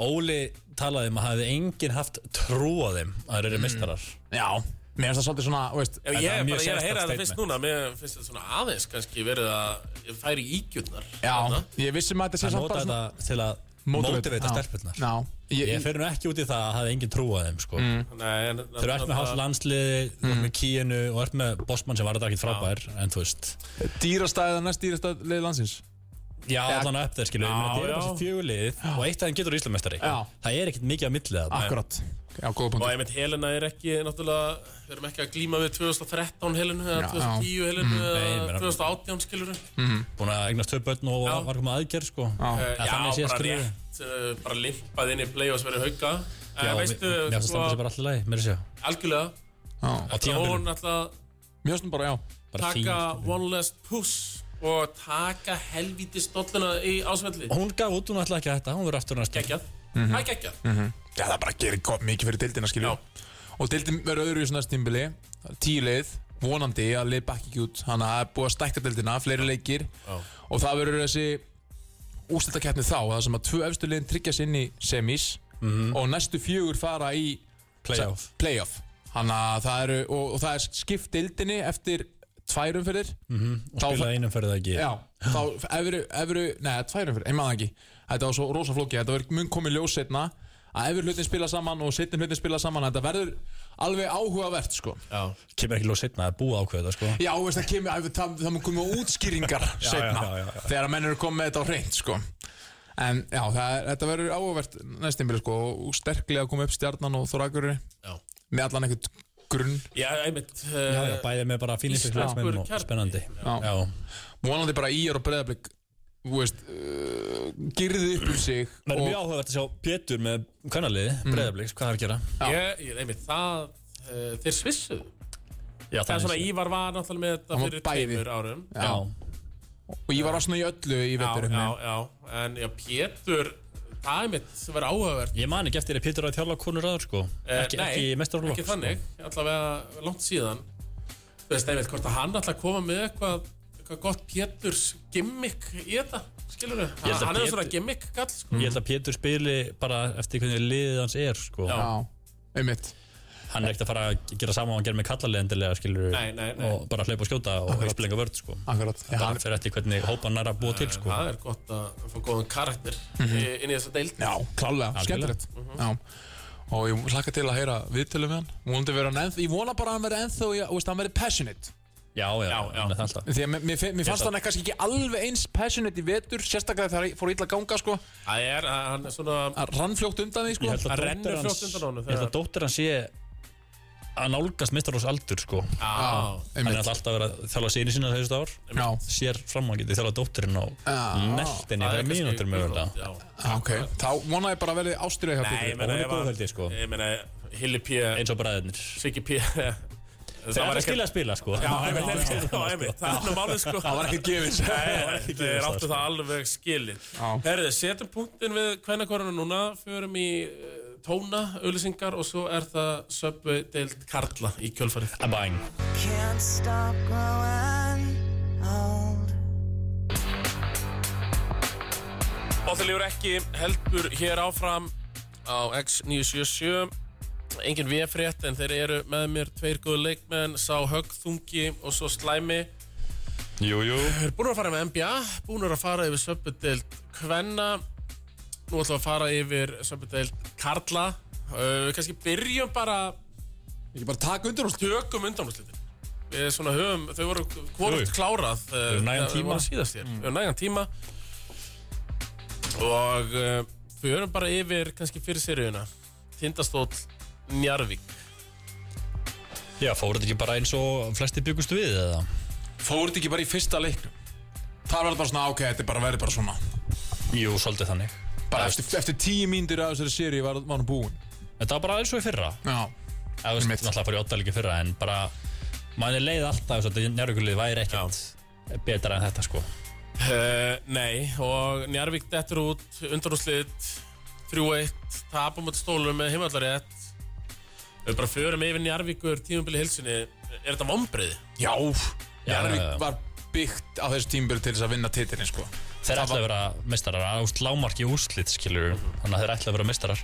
Óli talaði um að hafði enginn haft trú á þeim að þeir eru mistarar já, mér finnst það svolítið svona, þú veist Ef Ég En það er er mjög bara ég er að heyra sérstakt þetta fyrst núna Mér finnst þetta svona aðeins kannski verið að færi ígjurnar Já, ég vissum að þetta sé að samt nota bara svona þetta til að Motivate, motivita já. stelpurnar Já, ég, Ég fer nú ekki út í það að hafði enginn trú á þeim sko. Nei, en, Þeir eru ekki með hans landsliði, þú ert með kíinu og ert með bossmann sem var þetta ekkert frábær en þú veist, dýrastæðið er næst dýrastæðið leið landsins já allan upp þeir skilu, það já. eru þessi fjögulið og eitt af þeim getur Íslamestari Já. það er ekkert mikið að millið það Akkurat, já, góða Og punktur einmitt Helena er ekki náttúrulega, við erum ekki að glíma við 2013 Helenu eða Já. 2010 Helenu Mm. Nei, Mm. ég eða meina- 2018 skilur búin að eignast tvö börn og Já. var komið aðgerð sko. Já. Já, En þannig sé að bara skrifa rétt, eh, bara limpað inn í play og sverið hauka Já, En mér veistu, mér finnst að sko, standa sér bara allir lagi, mér er sér algjörlega Já, Á Hún tímanbyrjun, ætla að Mér finnst hún bara, já bara sko. fín taka one last push og taka helvíti stólluna í ásvelli Og Hún Mhm. gaf út, hún ætlaði ekki að þetta, hún verður aftur næst Geggjað, það er geggjað Já, það bara gerir gott mikið fyrir dildina, skilju Já. Og dildin verður öðru í svona stímbili Tíu leið, vonandi að leið bakki ekki út Þannig að það er búið að stækka dildina, fleiri leikir Já. Og það verður þessi úrstildakeppni þá Það sem að tvö efstu leiðin tryggjas inn í semis Og næstu fjögur fara í Playoff. playoff. Þannig að það eru Og, og það er skipt dildinni eftir tværum fyrir Mhm. og spilaði einum fyrir það ekki Já, þá efru, efru, neða, tværum fyrir, einmann ekki Þetta var svo rosa flóki, þetta var mun komið ljós setna að efru hlutin spila saman og setni hlutin spila saman þetta verður alveg áhugavert sko. Já, Kemur ekki lóð setna að búa ákveða sko. Já, veist, það kemur, það, það, það mun koma útskýringar setna, já, já, já. þegar að menn eru komið með þetta á reynd sko. En já, það, er- þetta verður áhugavert næstimbil sko, og sterklega að koma upp stjarnan og þorakurri já með allan ekkert grunn Já, einmitt Já, eh, já, bæði með bara fínlýstur Íslenskur leikmenn og kjarni. spennandi Já. Já. vonandi bara íjar og breyðablik veist, uh, girði upp um sig Það er og- mjög áhugavert að sjá Pétur með kvennaliði, Mm. breyðabliks, hvað það er að gera Ég, ég, einmitt, það, uh, þeir svissuðu. Já, Það er er svona, séð. Ívar var náttúrulega með þetta Hann var fyrir bæði. tveimur árum. Já. Og ég var svona í öllu í Já, vetur já, já, en já, Pétur, það er mitt sem verður áhugavert. Ég man ekki eftir að Pétur á þjálfa konur aður sko Eh, Ekki, nei, ekki sko. mestarlokk sko. Ekki þannig, allavega langt síðan. Þú veist, einmitt, hvort að hann ætla að koma með eitthvað, eitthvað gott Péturs gimmick í þetta, skilur við? Ég held að Hann er Pétur- svona gimmick kall, sko. Ég held að Pétur spili bara eftir hvernig liðið hans er sko. Já. einmitt Hann er ekkert að fara að gera sama og hann gerir með kallarlið endilega skilur Nei, nei, nei. og bara hlaupa og skjóta og upplenga vörð sko. Akkurat Já, Það fyrir eftir hvernig hópan er að búa til sko. Mhm. Það er gott að fá góðan karakter í- inn í þessa deild. já klálega, skemmtilegt Já Og ég hlakka til að heyra viðtölu með hann Vonandi verður hann ennþá Ég vona bara að hann verður ennþá Já, veist, hann verður passionate Já, já, já, já. hann er það alltaf Því að mér, mér, fe- mér fannst hann kannski ekki alveg eins passionate í vetur Sérstaklega þegar það fór illa að ganga sko Það er, að hann er svona, Hann rann fljótt undan því Ég sko held að Hann dóttir rennur hans- fljótt undan honum Ég held að dóttir hans sé að nálgast mistaróls aldur sko. já, Hann er einmitt alltaf að vera að þjálfa síni sína þessu ár Já, sér fram að hann geti þjálfa dóttirinn á Já. það er neltinni fyrir kannski- mínútur mögulega Já. ok Þá vona ég bara að verði ástyrja hjá Nei, ég Pétur meina, hún er ef góð, að- held ég, sko. Ég meina, Hilli P, eins og bræðinir Siggi P það var að ekkert- skilja að spila sko Já, einmitt, einmitt, já, einmitt, það er nú málið sko Það var ekkert gefins Nei, gefið þeir það, áttu sko. það alveg skilið Já. Herðu, setjum punktin við kvennakorinu núna Förum í eh, tóna, auðlýsingar Og svo er það söpbu deild Karla í kjölfarið að bæn can't stop growing old. Bóttilegur ekki heldur hér áfram á X977 engin VF-rétt en þeir eru með mér tveir góðu leikmenn, sá högþungi og svo slæmi jú, jú Þeir eru búin að fara með NBA, búin að fara yfir söpudeld Kvenna nú ætlum við að fara yfir söpudeld Karla uh, við kannski byrjum bara Ekki bara taka undir hún tökum undanúrslitin við svona höfum, þau voru hvort Jú. klárað uh, höfum nægan þegar tíma. Mm. voru síðast hér, við höfum nægan tíma og uh, við höfum bara yfir kannski fyrir seríuna Tindastóll Njarvík já, fóruð þetta ekki bara eins og flesti byggust við eða Fór þetta ekki bara í fyrsta leiknum Það var bara svona, "Ah, ok, þetta er bara verið bara svona jú, svolítið þannig Bara eftir, eftir tíu mínútur af þessari séri var var hann búinn þetta var bara eins og í fyrra Já, eða þú veist, Einmitt. náttúrulega fór í óttalíki fyrra en bara mann er leið alltaf þess að njárvíkulið væri ekkert betra en þetta sko Uh, nei, og Njarvík dettur út, undanúslit 3-1, tapum út stólum með heimallarétt Við bara förum yfir Njarvíkur tímubili hilsinni Er þetta vombriði? Já, já, já. Jarvík var byggt á þessu tímbil til þess að vinna titilin sko. Þeir ætla að vera meistarar, ást lámarki úrslit skilur, þannig að þeir ætla að vera meistarar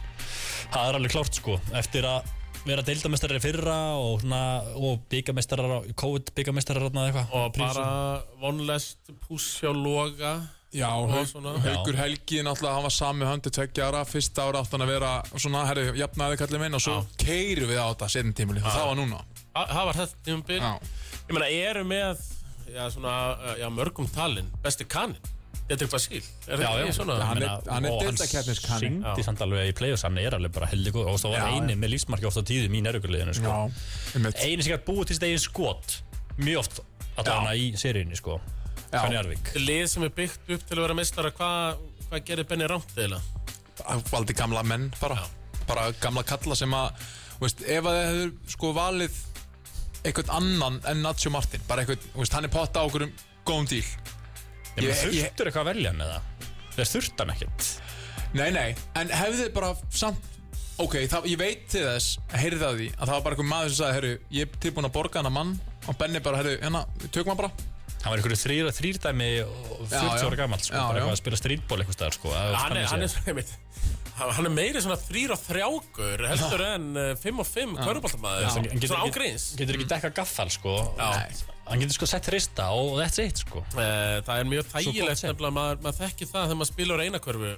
Það er alveg klárt sko eftir að vera deildameistarar í fyrra og, svona, og byggameistarar COVID byggameistarar eða eitthvað Og Prísum. bara vonlest, púss hjá loga Já, Og Hauk, svona. Haukur Helgi náttúrulega hann var sami höndu tveggja ára fyrsta ára átt hann að vera svona, herri, jafnaði kallið minn og svo Já. keirum við á þetta setjum tímili, það var núna Ha- Það var þetta tímubil Já, Ég meina, eru með já, svona, uh, já, mörgum talin, besti kaninn Þetta er eitthvað síl Er Já, þetta já, ekki svona? hann er- Meina, hann er og deildakeppniskani. Hann syngdi samt alveg í play-offs, hann er alveg bara heldig góð og það var Já, eini með lífsmarki oft á tíðum í nærvíkuliðinu sko. já, einmitt. Eini sem gætt búið til sitt eigin skot mjög oft allavega í seríunni sko Já. Hann er Arvík Lið sem er byggt upp til að vera meistara Hvað hva gerir Benny Rámt eiginlega? valdi gamla menn bara, bara gamla kalla sem að þú veist, ef að þið hefur sko valið einhvern annan en Nacho Martin bara einhvern, þú veist, hann er potta á okkur um góðum díl Ég- Ég meina, ég- Þurftur eitthvað að velja hann eða? Þeir þurft hann ekkert nei, nei, en hefði þið bara samt ok, það, ég veit til þess heyrði það því að það var bara einhver maður sem sagði herru, ég er tilbúin að borga hann að mann og Benni bara, herru, hérna, við tökum hann bara Hann var einhverju þrýr, þrýrdæmi og 40 já. ára gammal sko, Já, bara já. eitthvað að spila strítból eitthvað staðar sko að hann er, þannig hann, er, séð. svona, einmitt, hann hann er meiri svona þrýr og þrjákur heldur en 5 og 5 Já. kvöruboltamæður Hann getur svona ekki- ágríns Getur ekki dekka gaffal sko Já. Hann getur sko sett hrista og og that's it sko Eh, það er mjög gott þægilegt sem. nefnilega maður, maður þekkir það þegar maður spilar eina kvörfu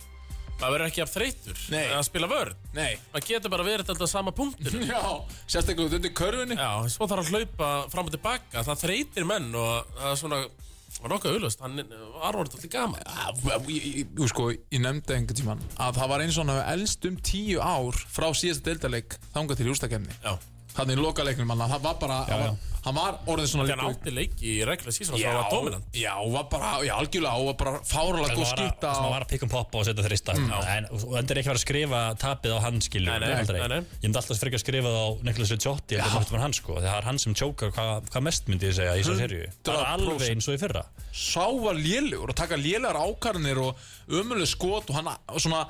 maður verður ekki af þreytur Nei. að spila vörn nei, maður getur bara verið alltaf sama punktinu já, sérstaklega út undir körfunni já, svo þarf að hlaupa fram og tilbaka það þreytir menn og það er svona var nokkuð auðlust, hann var orðið alltaf gaman Ah, ég- ég- Jú sko, ég nefndi einhvern tíman að það var eins og hann hafi elst um tíu ár frá síðasta deildarleik þangað til í ústakefni já, þannig í lokaleiknum hann, hann var bara hann var, hann var orðin svona hann átti leiki í regla síðan og já, það var dominant já, hann var bara, já, algjörlega hann var bara fáralega góð skýta Það var að pick and pop og setja þrista mm. en, og og þetta er ekki að fara að skrifa tapið á hann skilur Nei, nei, aldrei. nei, nei. Ég myndi alltaf frekar að skrifa það á Niklas Ricciotti eða náttúrulega var hann sko þegar það er hann sem tjókar hvað hva mest myndi ég segja í þessu serju Það er 100% alveg eins og í fyrra sá var lélugur og taka lélegar ákarnir og ömuleg skot og hann svona,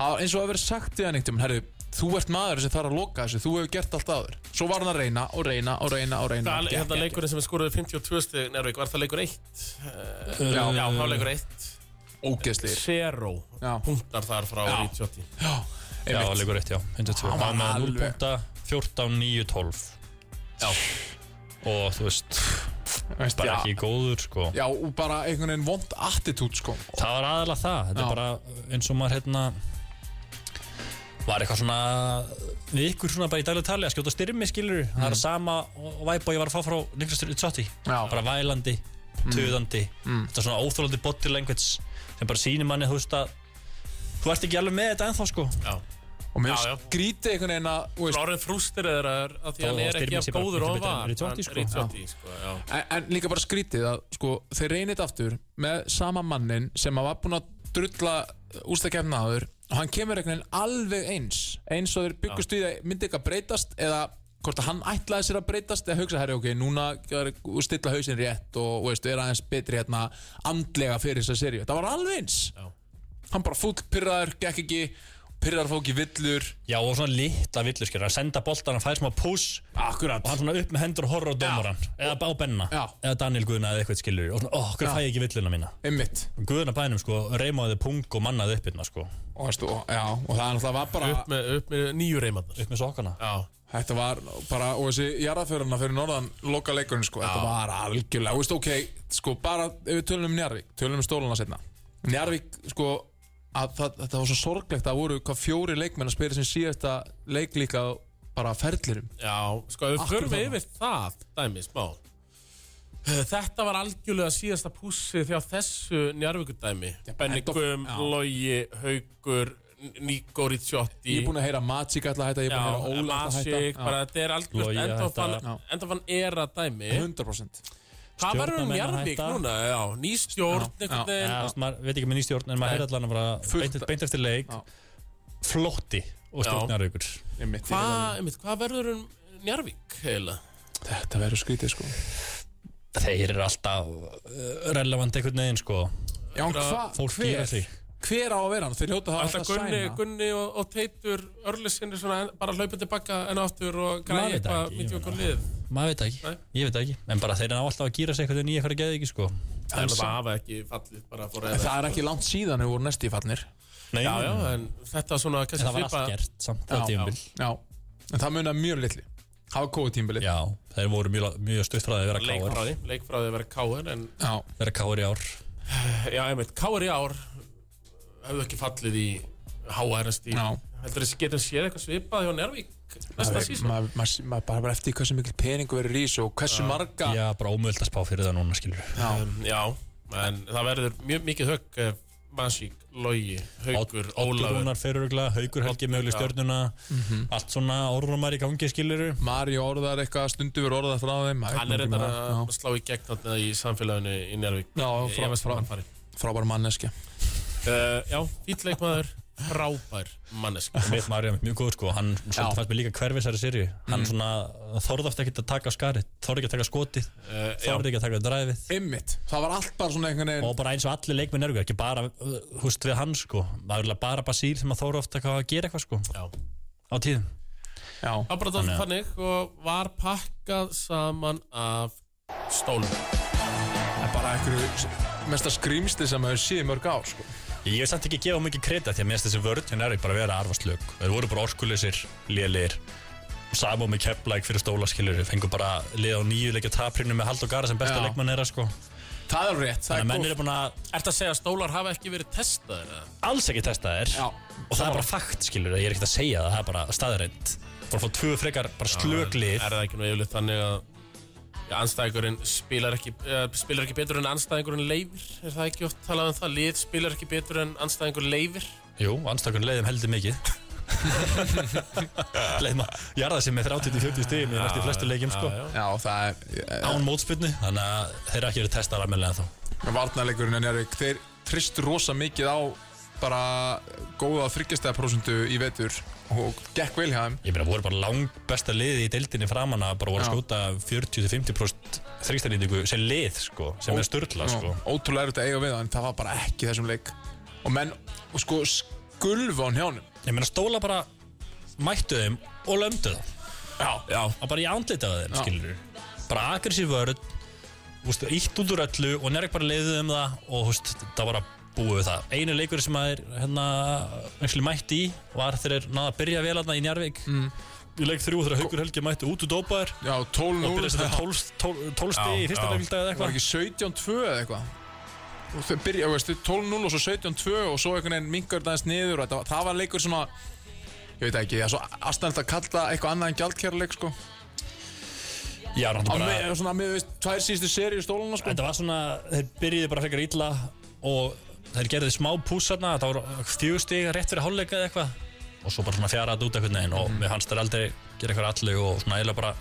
hann- eins og hafi verið sagt í hann einhvern tímann, herru, þú ert maður sem þarf að loka þessu, þú hefur gert allt aður svo var hann að reyna og reyna og reyna og reyna Það, Gekk þetta ekki. hérna leikurinn sem er skoraði 52 stig Nervík, var það leikur 1? já, já. já, það var leikur 1 ógeðslegir Zero Já. punktar þar frá Já. Rítsjótti Já, Já, einmitt. leikur rétt, já, 102 Hann var Hann með 0 alveg- punta, 14, 9, 12 Já. Og þú veist, Veist, bara já. ekki góður sko Já, og bara einhvern veginn vond attitút sko Það var aðalega það, þetta Já. er bara eins og maður hérna var eitthvað svona við ykkur svona bara í daglega tali að skjóta styrmi skilur það er sama og og væpa ég var að fá frá Niklas Ritsotti, Mm. Já. Mm. bara vælandi töðandi, þetta er svona óþrólandi body language sem bara sýnir manni þú veist að þú ert ekki alveg með þetta ennþá sko Já Og mér Já, já. skrítið einhvern veginn að þú veist, Orðin frústir eða að því Þó hann að er ekki Styrmir að sé bara góður miklu og betri en var Ritsotti, sko. Rítsjótti, sko, já en, en líka bara skrítið að sko, þeir reynið aftur með sama mannin sem að var búinn að drulla ústakefna aður og hann kemur einhvern veginn alveg eins eins og þeir byggust við að myndi eitthvað breytast eða hvort að hann ætlaði sér að breytast eða hugsa, herri, ok, núna er, stilla hausinn rétt og þú veist, er aðeins betri hérna andlega fyrir þessa serju það var alveg eins Já. hann bara fúll pyrraður, gekk ekki pyrraður fók í villur Já og svona litla villur skilur, að senda boltan að fæða smá push Akkurat og hann svona upp með hendur og horra á dómaran eða á Benna, Já. eða Daniel Guðna eða eitthvað skilur og svona, ó, hverju fæ ég ekki villuna mína Einmitt Guðna bænum sko, reymaði pung og mannaði upp hérna sko, og, veistu, og, já, og það náttúrulega var bara Upp með, upp með nýju reymannar upp með sokkana Já Þetta var bara, og þessi jarðaföruna fyrir norðan loka leikurinn sko, þetta var algjörlega, og veist, ok, sko, bara ef við tölum um Njarvík, tölum um stóluna setna Njarvík, sko, að, það, þetta var svo sorglegt að voru hvað fjóri leikmenn að spila sem síðasta leik líka á bara ferðlirum Já, sko, ef við Akkur förum þarna. yfir það, dæmi, smá Eh, Þetta var algjörlega síðasta pússi því á þessu njárvíkudæmi Benny enda- Guðum, já. Logi, Haugur, Níko Rítsjótti Ég er búin að heyra Magic alltaf hætta, ég er Já, búin að heyra Óla alltaf Masík, bara hætta þetta er Logi algjört að endafann hætta. Já. endafann era dæmi Já, 100% Það verður um Stjórnarmenn að Njarðvík hætta. núna, já, ný stjórn Já, einhvern Já, veginn þú veist, maður veit ekki með nýstjórn en maður heyrði allan að vera Fullt- beint, beint eftir leik Já. flotti og Já. stjórnaraukur Einmitt, ég er Hvað hva verður um Njarðvík heila? Þetta verður skrítið sko Þeir eru alltaf eh, relevant einhvern veginn sko Já, en hvað, Fólk gera hver, því hver á að vera hann? Þeir hljóta það Alltaf Gunni, Gunni og, og Teitur Örlisinn er svona en, bara hlaupið tilbaka en aftur og Maður græði veit það eitthvað ekki, mitt í ég okkur meina. lið Maður veit það ekki, Nei. ég veit það ekki En bara þeir eru alltaf að gýra sig einhvern veginn í eitthvað geði ekki sko Það er bara afa ekki fallið bara fór eða Það er ekki langt síðan við vorum næst í fallnir Nei, Já, já, en þetta svona en kannski það var allt svipað- gert samt á tímbil Já, en það munar mjög litli Hafa kóið tímbilið Já, þeir voru mjög, mjög stutt frá því að vera káur leikfráði, leikfráði að vera káður en Já, Vera káur í ár já, einmitt, káður í ár hefðu ekki fallið í háærasti já heldur þessi getum séð eitthvað svipað hjá Nervík næsta Maður sísón maður- maður- maður bara bara eftir því hversu mikil peningu verður í þessu og hversu marga Já, bara ómöld að spá fyrir það núna skilur Já, um, já, en það verður mjög mikið högg eh, Masík, Logi, Haugur, Oddur Ólafur Rúnar ferurugla, Haugur Helgi möguleg já. stjörnuna Allt svona orðrumar í gangi skilur Mario orðar eitthvað, stundu verður orðað frá þeim maður hann veit er nú ekki reyndar maður- að slá í gegn þarna í samfélaginu í Nervík Já, Ég- frá- ég veist frá- hvað hann fari. Já, frábær manneskja Eh, já, fýtleikmaður frábær mannesk Mitt Marja, mjög góð sko, hann Já. svolítið fannst mér líka hverfisæri sirju Hann Mhm. svona þorði oft ekkert að taka skari Þorði ekki að taka skotið, Eh, já, þorði ekki að taka dræfið Ymmit, það var allt bara svona einhvern veginn og bara eins og allir leikmenn eru ekki bara, uh, húst við hann sko maður er bara basír sem að þóra ofta að gera eitthvað sko já á tíðum Já, Það var bara dálítið þannig og var pakkað saman af stólum. það er bara einhverju mesta skrýmsti sem hefur séð í mörg ár sko. ég hef samt ekki gefað mikið kreta því að mér finnst þessi vörð hérna er bara að vera arfaslög þeir voru bara orkulisir, lélir Samo með keplæk fyrir stólaskilur fengur bara lið á nýju leikja taprinu með Hald og Gara sem besta Já. leikmann er sko Það er rétt, það þannig að er menn góð eru búin að Ertu að segja að stólar hafa ekki verið testaðir? eða? alls ekki testa þér Já, og það er bara fakt skilur ég er ekkert að segja það, það er bara staðarind bara að fá tvö frekar bara Er slöglið það ekki nú yfirleitt þannig að ja, anstæðingurinn spilar ekki, uh, spilar ekki betur en anstæðingurinn leifir? Er það ekki oft talað um það? Lið spilar ekki betur en anstæðingur leifir? Jú, anstakun leiðum heldur mikið Leiðum að jarða sem með 30-40 stigum í næstu flestu leikjum sko Já, já. já það er Án mótspilni, þannig að þeir eru ekki verið testað almennilega þá Varnarleikurinn er Njárvík, þeir trist rosa mikið á bara góða þryggjastæðaprósundu í vetur og gekk vel hjá þeim Ég meina, voru bara langt besta liði í deildinni framan að bara voru að Já. skjóta 40-50% þrýstanýtingu sem lið sko, sem er störla sko Nú, Ótrúlega erut að eiga við það en það var bara ekki í þessum leik og menn, og sko, skulfa hann hjá hann Ég meina, stóla bara mættu þeim og lömdu þá Já, já. að bara ég andlita það þeim, Já. skilur bara aggressív vörð úst, ítt út úr öllu og nærk bara leiðið um það og úst, það var að búið við það einu leikur sem að er hérna, actually mætti í var þegar þeir náða að byrja vel aðna í Njarvík mm. í leik þrjú þegar Haukur Helgi mætti út úr dópaður Já, og 12-0 byrjaði Það þetta 12 tól- 12 stið í fyrsta Já, já. leikildag eða var eitthvað ekki 17-2 eða eitthvað og þau byrja, veistu, 12-0 og svo 17-2 og svo einhvern veginn mingar þetta aðeins niður og það, það var leikur svona ég veit ekki, það er svo aðstæðan að kalla eitthvað annað en gjaldkjærleik sko. já, á náttúrulega með, bara, svona, með, veist, tvær síðustu seri í stóluna sko. þetta var svona þeir byrjuði bara frekar illa og þeir gerði smá púsarna það voru fjögur stig rétt fyrir hálfleika eða eitthvað og svo bara svona fjarað út einhvern veginn Mhm. og mér fannst þeir aldrei gera eitthvað alleg og svona eiginlega bara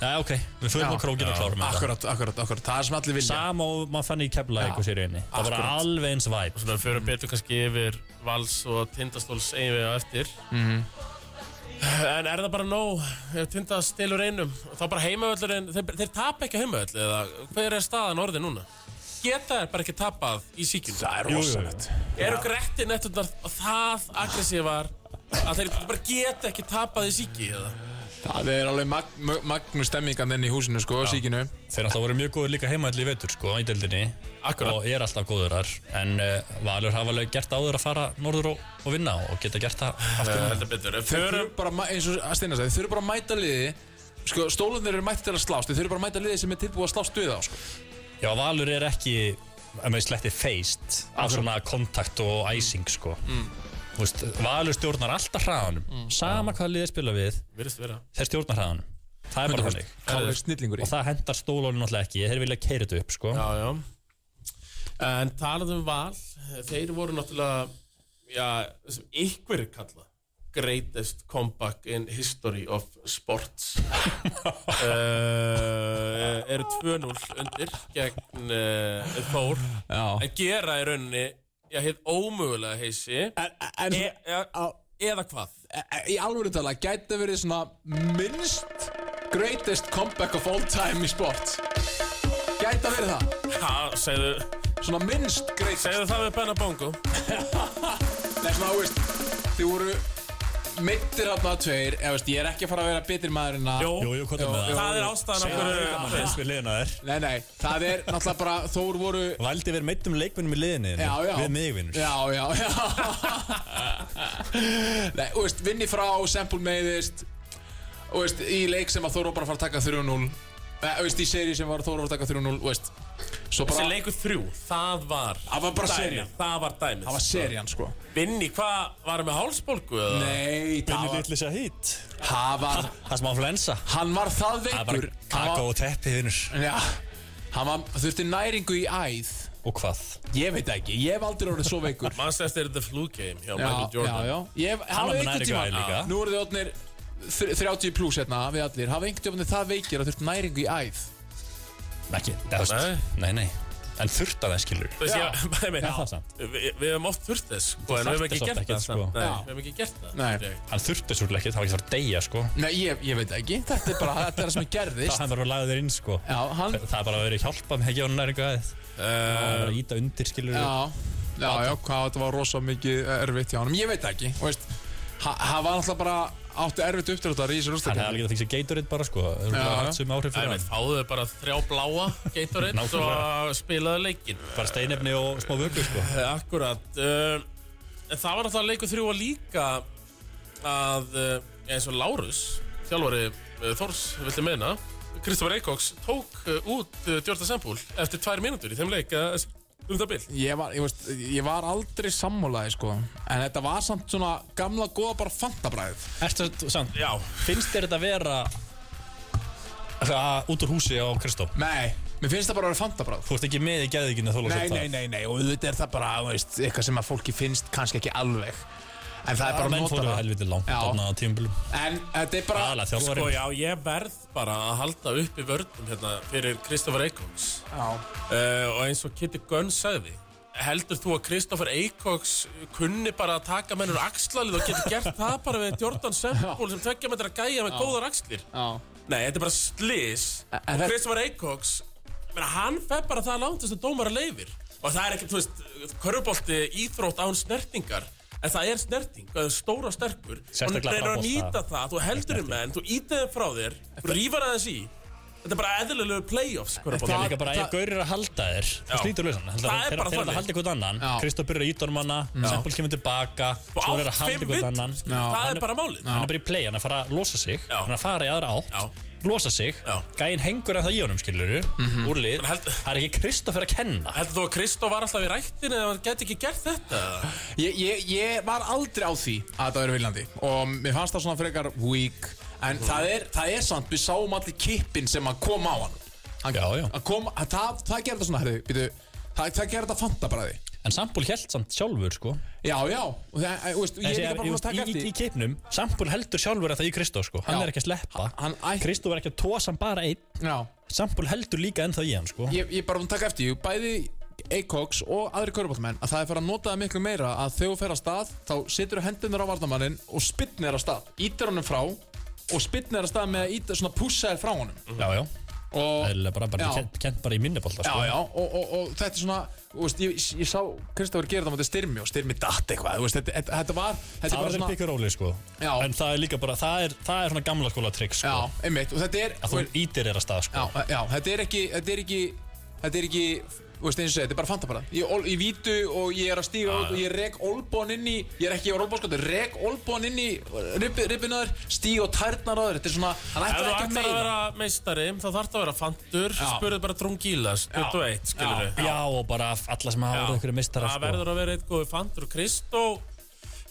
já ok, við förum Já, á krókinu og klárum þetta Akkurat, akkurat, akkurat, það er sem allir vilja sama og maður fann í kefla eitthvað sér einni það var akkurat. alveg eins væp Svona fyrir betur kannski yfir vals og tindastóls eigin við á eftir. Mhm. En er það bara nóg ef tindast stilur einum? Þá bara heimavöllurinn, þeir, þeir tapa ekki á heimavöll eða hver er staðan orðið núna? Geta er bara ekki tapað í síkjunum. Það er rosalegt Eru grætti nettunar það aggressívar að þeir bara geta ekki tapað í síki eða? Það er alveg mag mag- magnu stemmingan inn í húsinu sko, síkinu þeir alltaf voru mjög góður líka heimaðli í vetur sko í deildinni Akkurat. og er alltaf góður þar en uh, Valur hafa alveg gert áður að fara norður og, og vinna og geta gert það aftur Eh, Heldur betur. Ef Þeir Þeir eru þurfum bara, að ma- eins og að Stina sagði, þeir þurfum bara að mæta liði Sko, stólunir eru mætti til að slást Þeir þurfum bara að mæta liði sem er tilbúið að slást við á sko. Já, Valur er ekki að maður sletti feist af svona kontakt og Mm. æsing sko. Þú veist, Valur stjórnar alltaf hraðanum Mm. sama hvað liðið spila við virðist vera. þeir stjórnar hraðanum, það er bara þannig Káður snillingur í og það hendar stólónu náttúrulega ekki þeir vilja keira þetta upp sko. Já, já. En talað um val, þeir voru náttúrulega, já, sem ykkur er kallað, greatest comeback in history of sports. uh, eru 2-0 undir gegn uh, Þór. Já. En gera í rauninni, já, hitt ómögulega heisi. En, en E, e, eða hvað? e, í alvöru tala, gæti verið svona minnst Greatest comeback of all time í sport Gæta verið það Ha, segðu, Svona minnst greatest segðu það við Benna Bongo Nei, svona, þú veist, þið voru mittir þarna tveir, eða veist, ég er ekki að fara að vera bitir maður en að... Jó, Jú, jú, hvað er með það? það er ástæðan af Það hverju er við liðina þér Nei, nei, það er náttúrulega bara, Þór voru... Valdi verið um meittum leikvinnum í liðinni Já, já. Við mig vinnur Já, já, já. nei, þú veist, vinni frá, sample meiðist, þú veist, í leik sem að Þór var bara að fara að taka 3-0, eða, þú veist, í seri sem var Þór var að taka 3-0, þú veist, svo Þessi bara... leikur þrjú, það var Það var bara dæmið, serían. Það var dæmið Það var serían, sko. Vinni, hvað, var hann með hálsbólgu? eða? Nei, það Benni var... Lillisa hitt Það var... Það sem á flensa Hann var það Það er veikur. bara hann var- kakó og teppi vinnur Já, hann var, þurfti næringu í æð Og hvað? Ég veit ekki, ég hef aldrei orðið svo veikur Manst eftir The Flu Game hjá Já, Michael já, Jordan já Ég var hafa með einhvern næringu í æð líka. tíma Nú eru þið orðnir þr- 30 pluss hérna við allir Hafa einhvern tíma það veikir að þurft næringu í æð Ekki, eða, þú veist, nei, nei En þurft að það skilur Þú veist, ég, ég meina, Já, það er sant. við, við hefum oft þurft þess sko, en við þarft hefum ekki þess oft gert það ekkert, sko. samt. Nei, Já. við hefum ekki gert það Nei. held ég. Hann þurfti svolítið ekkert, það var ekki að fara að deyja sko Nei, ég, ég veit ekki, þetta er bara þetta er það sem er Það gerðist hann var að laga þér inn sko Já, hann Það er bara að vera í hjálpa með ekki á næringu aðeins Það er að íta undir skilur Já, já, já, hvað þetta var rosa mikið eh, erfitt hjá hann Ég veit ekki, þú veist ha- Hann var alltaf bara áttu erfitt uppdráttar í þessu Hann hefði rústakefni alveg að fixa Gatorade bara sko Það er Já, bara já. hatt sem áhrif Nei, við fyrir hann fáðu þau bara þrjá bláa Gatorade og Nákvæmlega. spilaðu leikin Bara steinefni og smá vöku sko Eh, Akkurat uh, En það var náttúrulega leikur þrjú að líka að uh, eins og Lárus þjálfari uh, Þórs, viltu meina Kristoffer Eikóks tók uh, út uh, Djörða Sempúl eftir tvær mínútur í þeim leik uh, um það bil Ég var, ég, veist, ég var aldrei sammálaði sko En þetta var samt svona gamla góða bara fantabræðið Ertu samt, Já, finnst þér þetta vera Það út úr húsi á Kristó Nei, mér finnst það bara að vera fantabræð Þú ert ekki með í geðvíkinu þóla Nei, nei, nei, nei, og auðvitað er það bara þú veist, eitthvað sem að fólki finnst kannski ekki alveg En það er bara Menn fóru notalega helviti langt Já. þarna á tímbilum En eh, þetta er bara Aðalega sko þjálfarinn já, ég verð bara að halda upp í vörnum hérna fyrir Kristoffer Eikóks já, uh, og eins og Kitty Gunn sagði heldur þú að Kristoffer Eikóks kunni bara að taka mennur axlalið og getur gert það bara við Jordan Sempúl sem tveggja metra gæja með góðar axlir já. nei, þetta er bara slis Eh, En- en og þetta- Kristoffer Eikóks menna, hann fer bara það langt þess að dómara leifir og það er ekki, þú veist, körfubolti íþrótt án snertingar en það er snerting, það er stóra sterkur og Sérstaklega reynir að handbolta. nýta það, þú heldur um menn, þú ítið þeim frá þér þú rífar aðeins í þetta er bara eðlilegu playoffs Það er körfubolti líka bara, ef það- gaurir að halda þér Já. Það slítur lausan Það er bara Þeir eru að þannig. halda eitthvað annan Já. Kristó byrjar að íta um hana Sempul kemur tilbaka og Svo átt er að halda fimm eitthvað vitt annan það er bara málið Hann er bara í play, hann er að fara að losa sig Já. Hann er að fara í aðra átt Já. Losa sig Já. Gæinn hengur að það í honum, skilur Mhm. du Úrlið En held- Það er ekki Kristoffer að kenna heldur þú að Kristó var alltaf í rættin eða hann geti ekki gert þetta Ég, ég, ég var aldrei á því að þetta verið viljandi Og mér fannst það svona frekar weak En það, er, það er samt, við sáum allir kippin sem að koma á hann Hann, Já, já. hann Kom, að, það, það gerði þetta svona, herri, býtu Það, það gerði þetta fantabræði En Sambúl held samt sjálfur sko Já, já, og það, e, veist, ég En er sé líka bara að- ég búin að veist, taka í, í, í eftir keipnum Sambúl heldur sjálfur að það í Kristó sko Já. Hann er ekki að sleppa Hann- hann ætti- Kristó var ekki að tóa hann bara einn Já, Sambúl heldur líka ennþá í hann sko ég, ég er bara búin að taka eftir, jú, bæði Eikoks og aðri körbóltmenn Að það er fyrir að nota það miklu meira Að þegar þú fer að stað, þá situr hendunar á vardamannin Og spinnir að stað, ítir honum frá Og spinnir að stað með að íta, svona pússa þér frá honum Já, já og, Það er bara, bara Já. kent, kent bara í minnibólta Já, sko já, og, og, og þetta er svona þú veist, ég, ég sá Kristofur gera þetta á móti styrmi og styrmi datt eitthvað þú veist, þetta, þetta, þetta var þetta Það er bara var svona... pikkur róli sko Já. En það er líka bara, það er, það er svona gamla skóla trikk sko Já, einmitt, og þetta er Að þú ítir er að stað sko já, e, já, þetta er ekki þetta er ekki, þetta er ekki þú veist, eins og segja, þetta er bara fanta bara ég, ol, ég vítu og ég er að stíga út og ég rek olbón inn í ég er ekki á olbónskóttu, rek olbón inn í ribbinuður, stíg og tærnar á þér þetta er svona, hann ef þú ætlar ekki að ætlar að meina vera meistari þá þarf það að vera fantur spurðu bara Drungílas 21 skilur við Já, og bara alla sem hafa verið ykkur mistara það sko verður að vera eitt góði fantur og Kristó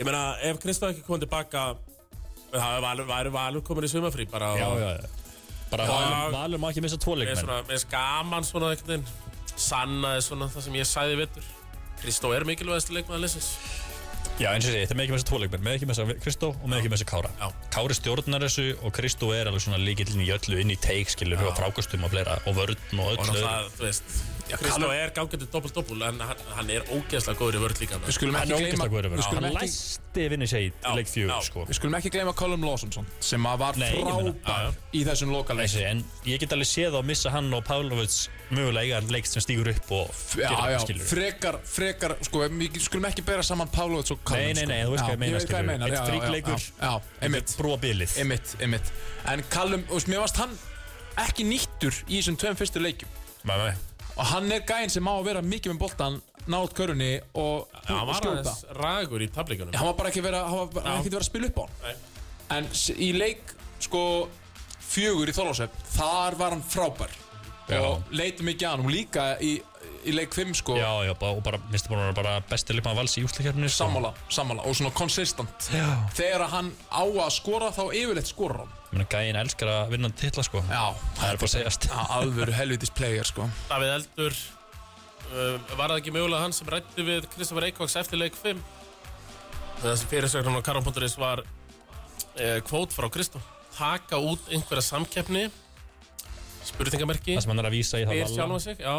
ég meina ef Kristó ekki komið tilbaka það væri valur, valur komin í sumafrí bara Já, og já, já Bara valur, valur má ekki missa tvo ég er leikmenn svona ég er skaman svona einhvern veginn sannaði svona það sem ég sagði í vittur Kristó er mikilvægast leikmaður leysins Já, eins og sé, þetta er með ekki missa tvo leikmenn Með ekki missa Kristó og með ekki missa Kára Já. Kári stjórnar þessu og Kristó er alveg svona líkillin í öllu inn í teik skilur og frákastum og fleira og vörn og og öllu öðru. það, þú veist Kristó er gangjandi doppel-doppel en hann, hann er ógeðslega góður í vörð líka Við skulum Hann ekki er ógeðslega góður að gleyma- vera við skulum Hann ekki- læsti vinni segi Já, leik fjögur já. sko Við skulum ekki gleyma Colum Lawson samt, sem að var Nei, ég meina, já, frábær í þessum lokaleik Þessi, en ég get alveg séð á að missa hann og Pavlovic mögulega eiga leik sem stígur upp og Já, gerir já, það, skilurðu. frekar, frekar, sko, við skulum ekki bera saman Pavlovits og Callum Nei, nei, nei, þú veist Já, hvað ég meina, veit hvað skilurðu. ég meina, Einn já, já, fríkleikur. já, Já, einmitt, brúa bilið einmitt, einmitt En Callum, þú veist, mér varst hann ekki nýttur í þessum tveim fyrstu leikjum Nei, nei. Og hann er gæinn sem á að vera mikið með boltan, nátt körunni og, Hann og var sko, skjóta aðeins ragur í tablíkunum Hann var bara ekki verið að, vera, Já. ekki verið að spila upp á hann Nei. En s- í leik, sko, fjögur í Þorlásöf, þar var hann frábær Já. Og leitum ekki að hann, og líka í, í leik 5, sko Já, já, bara- og bara, minnstu bara, bara besti leikmann vals í úsleikjarnir Sammála, sammála og svona konsistant Já. Þegar að hann á að skora þá yfirleitt skora hann Mér gæin elskar að vinna titla sko Já, Það er bara að segjast alvöru helvitis player sko Davíð Eldur uh, Var það ekki mögulega hann sem rætti við Kristoffer Eikvaks eftir leik 5 Þessi fyrirsögnum á karon.is var uh, kvót frá Kristof Taka út einhverja samkeppni Spurningamerki Það sem hann er að vísa í það Spyr Lalla. sjálfan sig, já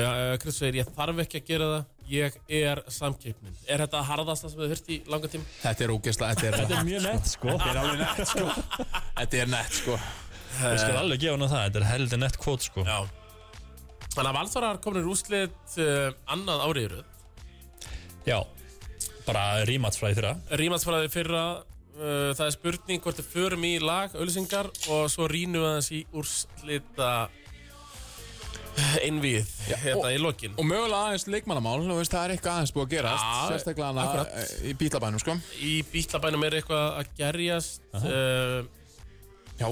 uh, Kristof segir, ég þarf ekki að gera það Ég er samkeppnin Er þetta harðasta sem þið hört í langa tím? Þetta er ógeðslega, þetta er, Þetta er mjög nett Eh. sko Ég er alveg nett sko Þetta er nett sko skal alveg gefa hann það Þetta er heldur nett kvót sko Já Þannig að Valþórar komin í úrslit uh, annað árið í röð Já Bara rímatsfræði fyrra Rímatsfræði fyrra uh, Það er spurning hvort við förum í lag, ölsingar og svo rínum við aðeins í úrslita einvið og- hérna í lokin Og mögulega aðeins leikmannamál, þú veist það er eitthvað aðeins búið að gerast Já, Sérstaklega hana akkurat. eh, í bílabænum sko Í bítlabænum er eitthvað að gerjast uh, Já,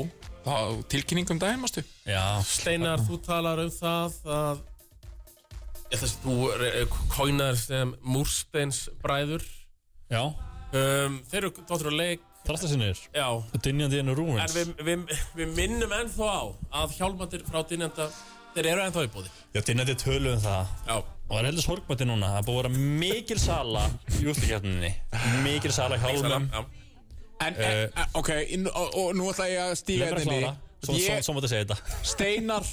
það tilkynningum um daginn mástu Já Steinar, þú talar um það að ég þess að þú eh, kóinar sem múrsteins bræður Já um, Þeir eru dóttur á leik Þrastasinir Já, Dynjandi ennur en Rúins við, við, við minnum ennþá á að hjálmandir frá dynjanda þeir eru ennþá í bóði Já, dynjandi tölu um það Já, Og það er heldur sorgmætti núna Það er búið að vera mikil sala í úsleikjarninni Mikil sala í hálfum já. En, en Eh. en, ok, inn- og, og nú ætla ég að stíga Leifur að hérna inn klára í- Svo, svo, Ég, svo mátt að segja þetta Steinar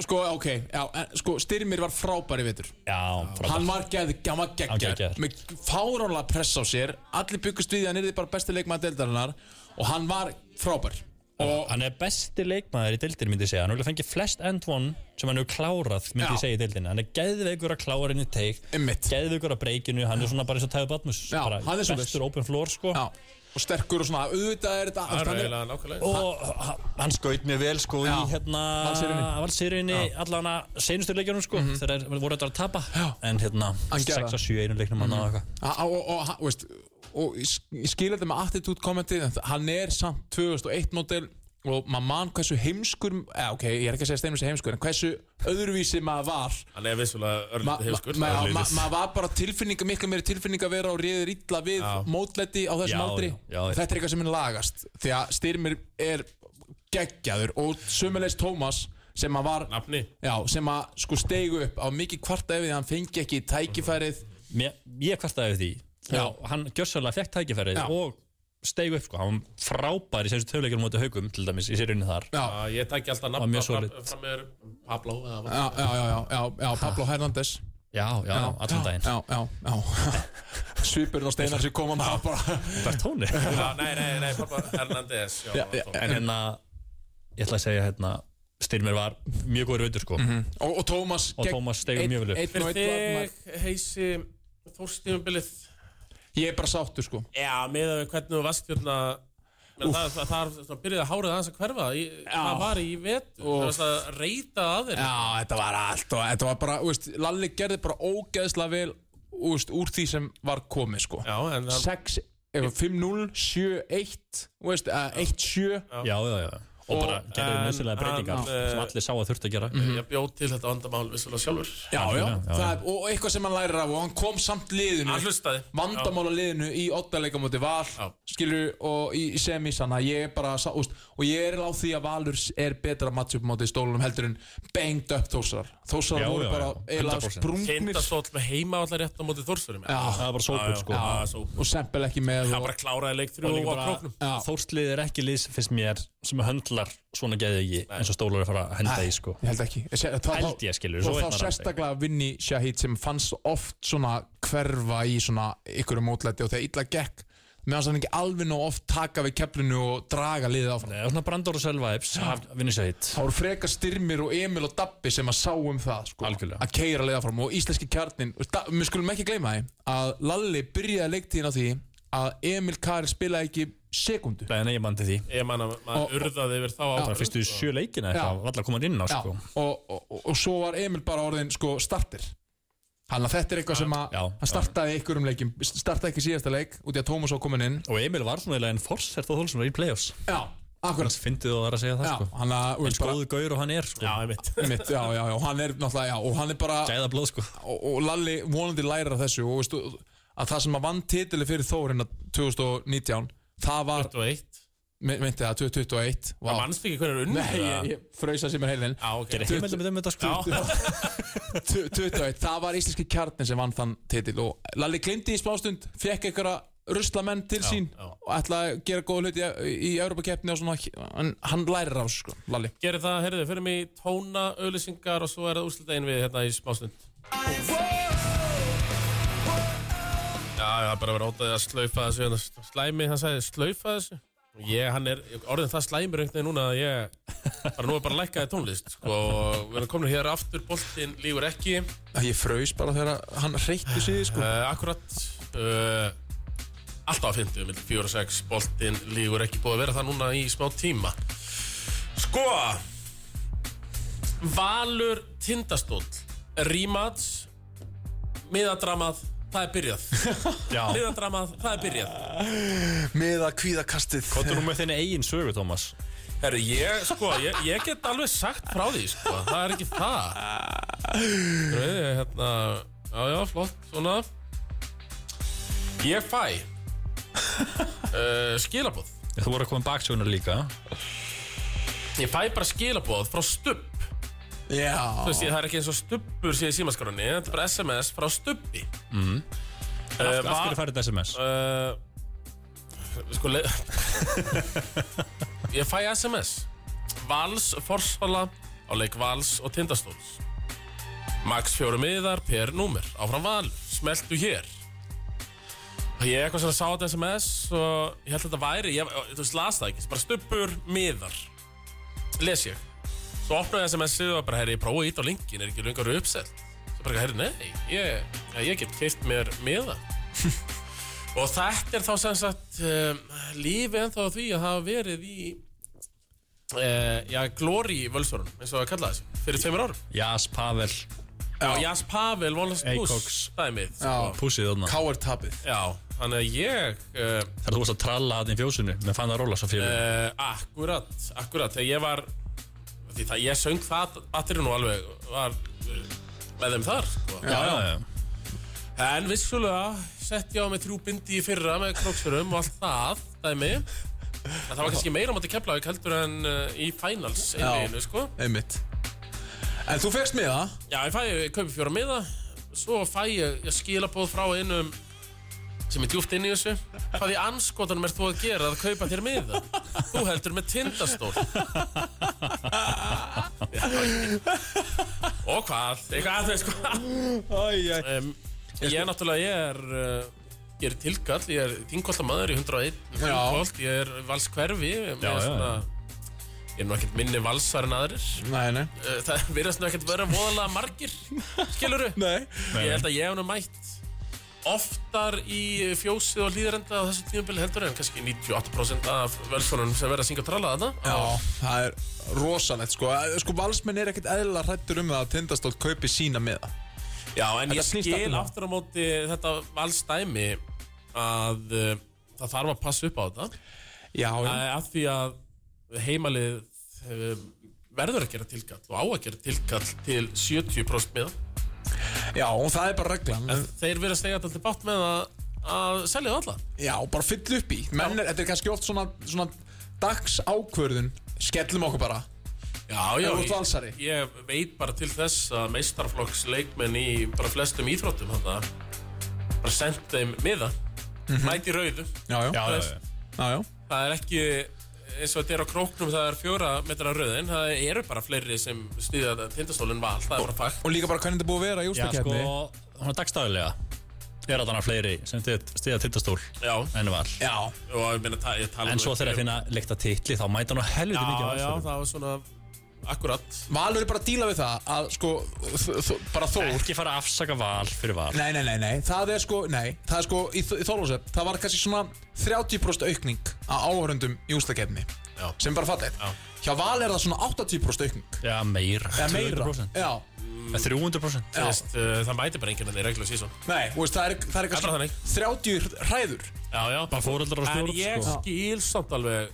Sko, ok, já, en, sko, Styrmir var frábær í vetur Já, Hann frábært var geð, hann var geggjar geggjaður. með fáránlega press á sér allir byggust við að hann er bara besti leikmann deildarinnar og hann var frábær og Hann er besti leikmaður í deildinu myndi ég segja Hann vil fengi flest end one sem hann hefur klárað myndi Já. ég segja í deildinu Hann er geðveikur að klára inn í teik Einmitt. Geðveikur að breykinu, hann er svona bara eins og Tæðu Batmus Já, bara hann er svoleiðis. Bestur open floor sko já, og sterkur og svona auðvitað er þetta Það er hann er- eiginlega nákvæmlega Og hann- hann skaut mér vel sko Já. í hérna Valsýrunni. Valsýrunni allan að senustu leikjunum sko Þegar þeir voru þetta að tapa En hérna Mhm. Hann gerði Mhm. 6 að 7 einu leiknum mm -hmm. og, og, og, og, veist, og ég sk- ég skil þetta með attitude kommentið hann er samt 2001 model og maður mann hversu heimskur eða, ok, ég er ekki að segja Steinur sem heimskur en hversu öðruvísi maður var Hann er vissulega Ma- örlítið ma- hefskur ma- ma- maður var bara tilfinninga miklu meiri tilfinninga að vera og réðir illa við mótletti á þessum Já, aldri já, já, já. þetta er eitthvað sem er lagast því að styrmir er geggjaður og sömulegst Tómas sem að var Nafni já, sem að sko steigu upp á mikið kvarta ef því að hann fengi ekki tækifærið Mér, Ég kvartaði við því Já. og Hann gjössalega fekk tækifærið Já. og steig upp sko Hann var frábær í senustu töfleikunum mútið haugum til dæmis í sérunni þar já, já, Að Ég tæki alltaf Var nafna mjög fram, solid. fram með Pablo eða hvað. já, já, já, já, já Pablo Hernández Já, já, já allan daginn já, já, já. svipurinn og steinar sem koma maður bara Bertóni Já, Nei, nei, nei, pappa Hernandez já, Já, já, Tom. En hérna, ég ætla að segja hérna Styrmir var mjög góður veitur sko og, og Tómas Og Tómas steig mjög vel upp. Fyrir upp þig heisi Þórstífumbilið ég er bara sáttur sko Já, með að við hvernig þú varst hérna menn Það, það, það, það byrjaði að hárið aðeins að hverfa í, Það var í vetur Það varst að reyta að þér Já, þetta var allt og þetta var bara, þú veist, Lalli gerði bara ógeðslega vel þú veist, úr því sem var komið, sko. Já, en það 6, ef 5-0, 7-1, þú veist, eh, 1-7, Já, já, já Og bara gerði en nöðsynlega hann, breytingar eh, Mhm. sem allir sá að þurfti að gera Ég bjóð til þetta vandamál vissulega sjálfur já, já, já, já. það, og og eitthvað sem hann lærir af og hann kom samt liðinu, Hann hlustaði vandamála liðinu í oddalegamóti Val, Já. skilur, og í, í semis, þannig að ég er bara, sá, úst, og ég er á því að Valur er betra matchup móti stólunum heldur en banged up Þórsar. Þórsar Já, voru já, bara já, eiginlega 100%. sprungnir. Kindastóll með heima allar rétt á móti Þórsurum Já, Það var bara sópur sko Já, svo og Sempel ekki með Það og- bara kláraði leik Og þrjú líka á bara- króknum Já. Þórslið er ekki lið sem finnst mér sem höndlar allar svona geðið ekki eins og stólar er að fara að henda í sko Ég held ekki Se- þá- þá- Held ég, skilur, Og svo veit þá maður aldrei. sérstaklega Vinni Shahid sem fannst oft svona hverfa í svona ykkur mótlæti og þegar illa gekk meðan þess að hann ekki alveg nóg oft taka við keflinu og draga liðið áfram Nei, og svona Brandor og Selvibes vinnir sér hitt þá eru frekar styrmir og Emil og Dabbi sem að sá um það sko, Algjörlega. að keira leiða fram og íslenski kjarnin og da- við skulum ekki gleyma því að Lalli byrjaði leiktíðin á því að Emil Kari spilaði ekki sekundu Nei, nei, ég mandi því Ég man að Og- og- maður urðaði yfir þá sko. Það áfram fyrstu sjö leikina eitthvað, var allar komin inn á Já, sko og, og, og, og svo var Emil bara orðin sko starter Þannig að þetta er eitthvað sem að Já, hann startaði ykkur um leikin, startaði ekki síðasta leik út í að Tómas var komin inn Og Emil var svona eiginlega en forsert á Þólsunar í play-offs Já, akkurat Þannig fyndið þú að vera að segja það Já, sko hann að, þú En veist bara skoðu gaur og hann er sko Já, ég mitt mitt, já, já, já, hann er náttúrulega, já, og hann er bara Gæða blóð sko og, og Lalli vonandi læra af þessu og veistu, að það sem að vann titili fyrir hérna Þórina 2019 það var, 21 me- meinti það, 2021 vá. Það mannst ekki hvernig er unnið Nei, ég, ég fröysa sem er heilin Já, ok Gerir heimildum um þetta sko 21, það var íslenski kjarnin sem vann þann titil og Lalli glimti í smástund fekk einhverja ruslamenn til sín já. og ætlaði að gera góða hluti í, í Europakeppni og svona, en hann lærir af þessu, sko, Lalli Gerir það, heyrðu, fyrir mig í tóna, auðlýsingar og svo er það úrslutegin við hérna í smástund Já, ég var bara að vera ótaði að slaufa þessu hérna, slæmi, hann sagði slaufa þessu Og ég, hann er, orðin það slæmir einhvern veginn núna að ég bara nú er bara að lækkaði tónlist sko, og við erum komin hér aftur, boltinn lígur ekki uh, Æ, ég fröys bara þegar hann reytti sig sko. Eh, akkurat uh, alltaf á 50, milli 4 og 6 boltinn lígur ekki búið að vera það núna í smá tíma sko Valur Tindastóll Rímats miðadramað, það er byrjað Já miðadramað, það er byrjað með að kvíða kastið Kottu nú með þinni eigin sögu, Thomas Herru, ég, sko, ég, ég get alveg sagt frá því, sko, það er ekki það. Þú veit, ég, hérna, já, já, flott, svona. Ég fæ uh, skilabóð. Þú voru að koma baksögunar líka Ég fæ bara skilabóð frá stubb. já, Þú veist, ég- það er ekki eins og stubbur síðan símaskarunni, þetta er bara SMS frá stubbi. Mhm. Eh, Af af va- hverju færið þetta SMS? Uh, sko, le... ég fæ SMS Vals, Forsvala á leik Vals og Tindastóls Max fjóru miðar per númer áfram Val, smeltu hér og ég eitthvað svona sá þetta SMS og ég held að þetta væri ég, þú veist, las það ekki, bara stubbur miðar les ég svo opnaði SMS-ið og bara, herri, ég prófa ít á linkin er ekki lungar uppsett svo bara, herri, nei, ég, ég get keitt mér miðar Og þetta er þá sem sagt um, lífið ennþá á því að hafa verið í uh, já, glóri völsvörun, eins og að kalla þessi, fyrir tveimur árum. Jas, Pavel, Og Jas Pavel, Wallace Buss, Acox. dæmið. já. púsið þarna Káir tapið Já, þannig að ég, uh, Þegar þú varst að tralla hann í fjósinu með fann að róla svo fyrir uh, akkurat, akkurat, þegar ég var, því það, ég söng það, batterinu alveg, var uh, með þeim þar, sko. Já, já, já En vissulega sett ég á mig þrjú bindi í fyrra með króksurum og allt það, dæmi. En það var kannski meira á móti keflavík heldur en uh, í finals einveginu, sko. einmitt en þú fegst með það Já, ég fæ, ég kaupi fjóra miða, svo fæ ég, ég skilabóð frá einum sem er djúpt inn í þessu. Hvað í anskotanum ert þú að gera að kaupa þér miða? Þú heldur með tindastól. Já, ég- og hvað, eitthvað að þau, sko. Æj, æj um, Ég er náttúrulega, ég er uh, Ég er tilkall, ég er þingoltamaður í 101 Þingolt, ég er valskverfi Ég Já, er já, svona Ég er nú ekkert minni valsar en aðrir nei, nei Uh, Það virðast nú ekkert vera voðalega margir Skiluru? Nei. Ég held að ég hef nú mætt oftar í fjósið og hlýðrenda á þessu tímabili heldur en kannski 98% af völsvonunum sem verða að syngja og tralla þarna Já, það er rosalegt sko Sko valsmenn er ekkert eðla hrættur um það að tindastótt kaupi sína með það Já, en Þetta ég snýst skil allt um það. aftur á móti þetta valstæmi að uh, það þarf að passa upp á þetta Já, Æ, að því að heimalið eh, verður að gera tilkall og á að gera tilkall til 70% miða. já, og það er bara reglan En þeir verið að segja þetta alltaf bátt með að, að selja það alla. Já, bara fyll upp í Menn er, þetta er kannski oft svona, svona dags ákvörðun Skellum okkur bara Já, Ef þú ert Valsari. ég, ég veit bara til þess að meistarflokks leikmenn í bara flestum íþróttum þarna bara Mhm. senda þeim miða, mæti rauðu. Já, já, Já, já, já, já. já. já, já. Það er ekki, eins og þetta er á króknum það er fjóra metra röðin það eru bara fleiri sem stýða tindastólinn val, það er bara fakt Og líka bara hvernig þetta er búið að vera í Já, sko, ústakefni hún er dagstæðilega Er að hana fleiri sem stiða tindastól Já, en val Já, og ég meina ta- ég tala En nú svo ekki þegar að um- finna leikta titli þá mæta hann á helviti Já, mikið já, valsverðum það var svona akkurat Valur er bara að díla við það að sko, þ- þ- bara Þór Ekki fara að afsaka val fyrir val Nei, nei, nei, nei, það er sko, nei, það er sko í, Þ- í Þorlósöf, það var kannski svona 30% aukning að áhörundum í ústakefni Já. sem er bara fallið Já. Hjá Val er það svona 80% aukning Já, meira eða meira, 200%. já, Eh, 300% já, Veist, uh, það mæti bara einhvern veginn í reglu sísón nei, þú veist, það er, það Það er er bara eitthvað þannig. 30 hræður Já, já, Bara fóreldrar og En stjórn ég sko. skil samt alveg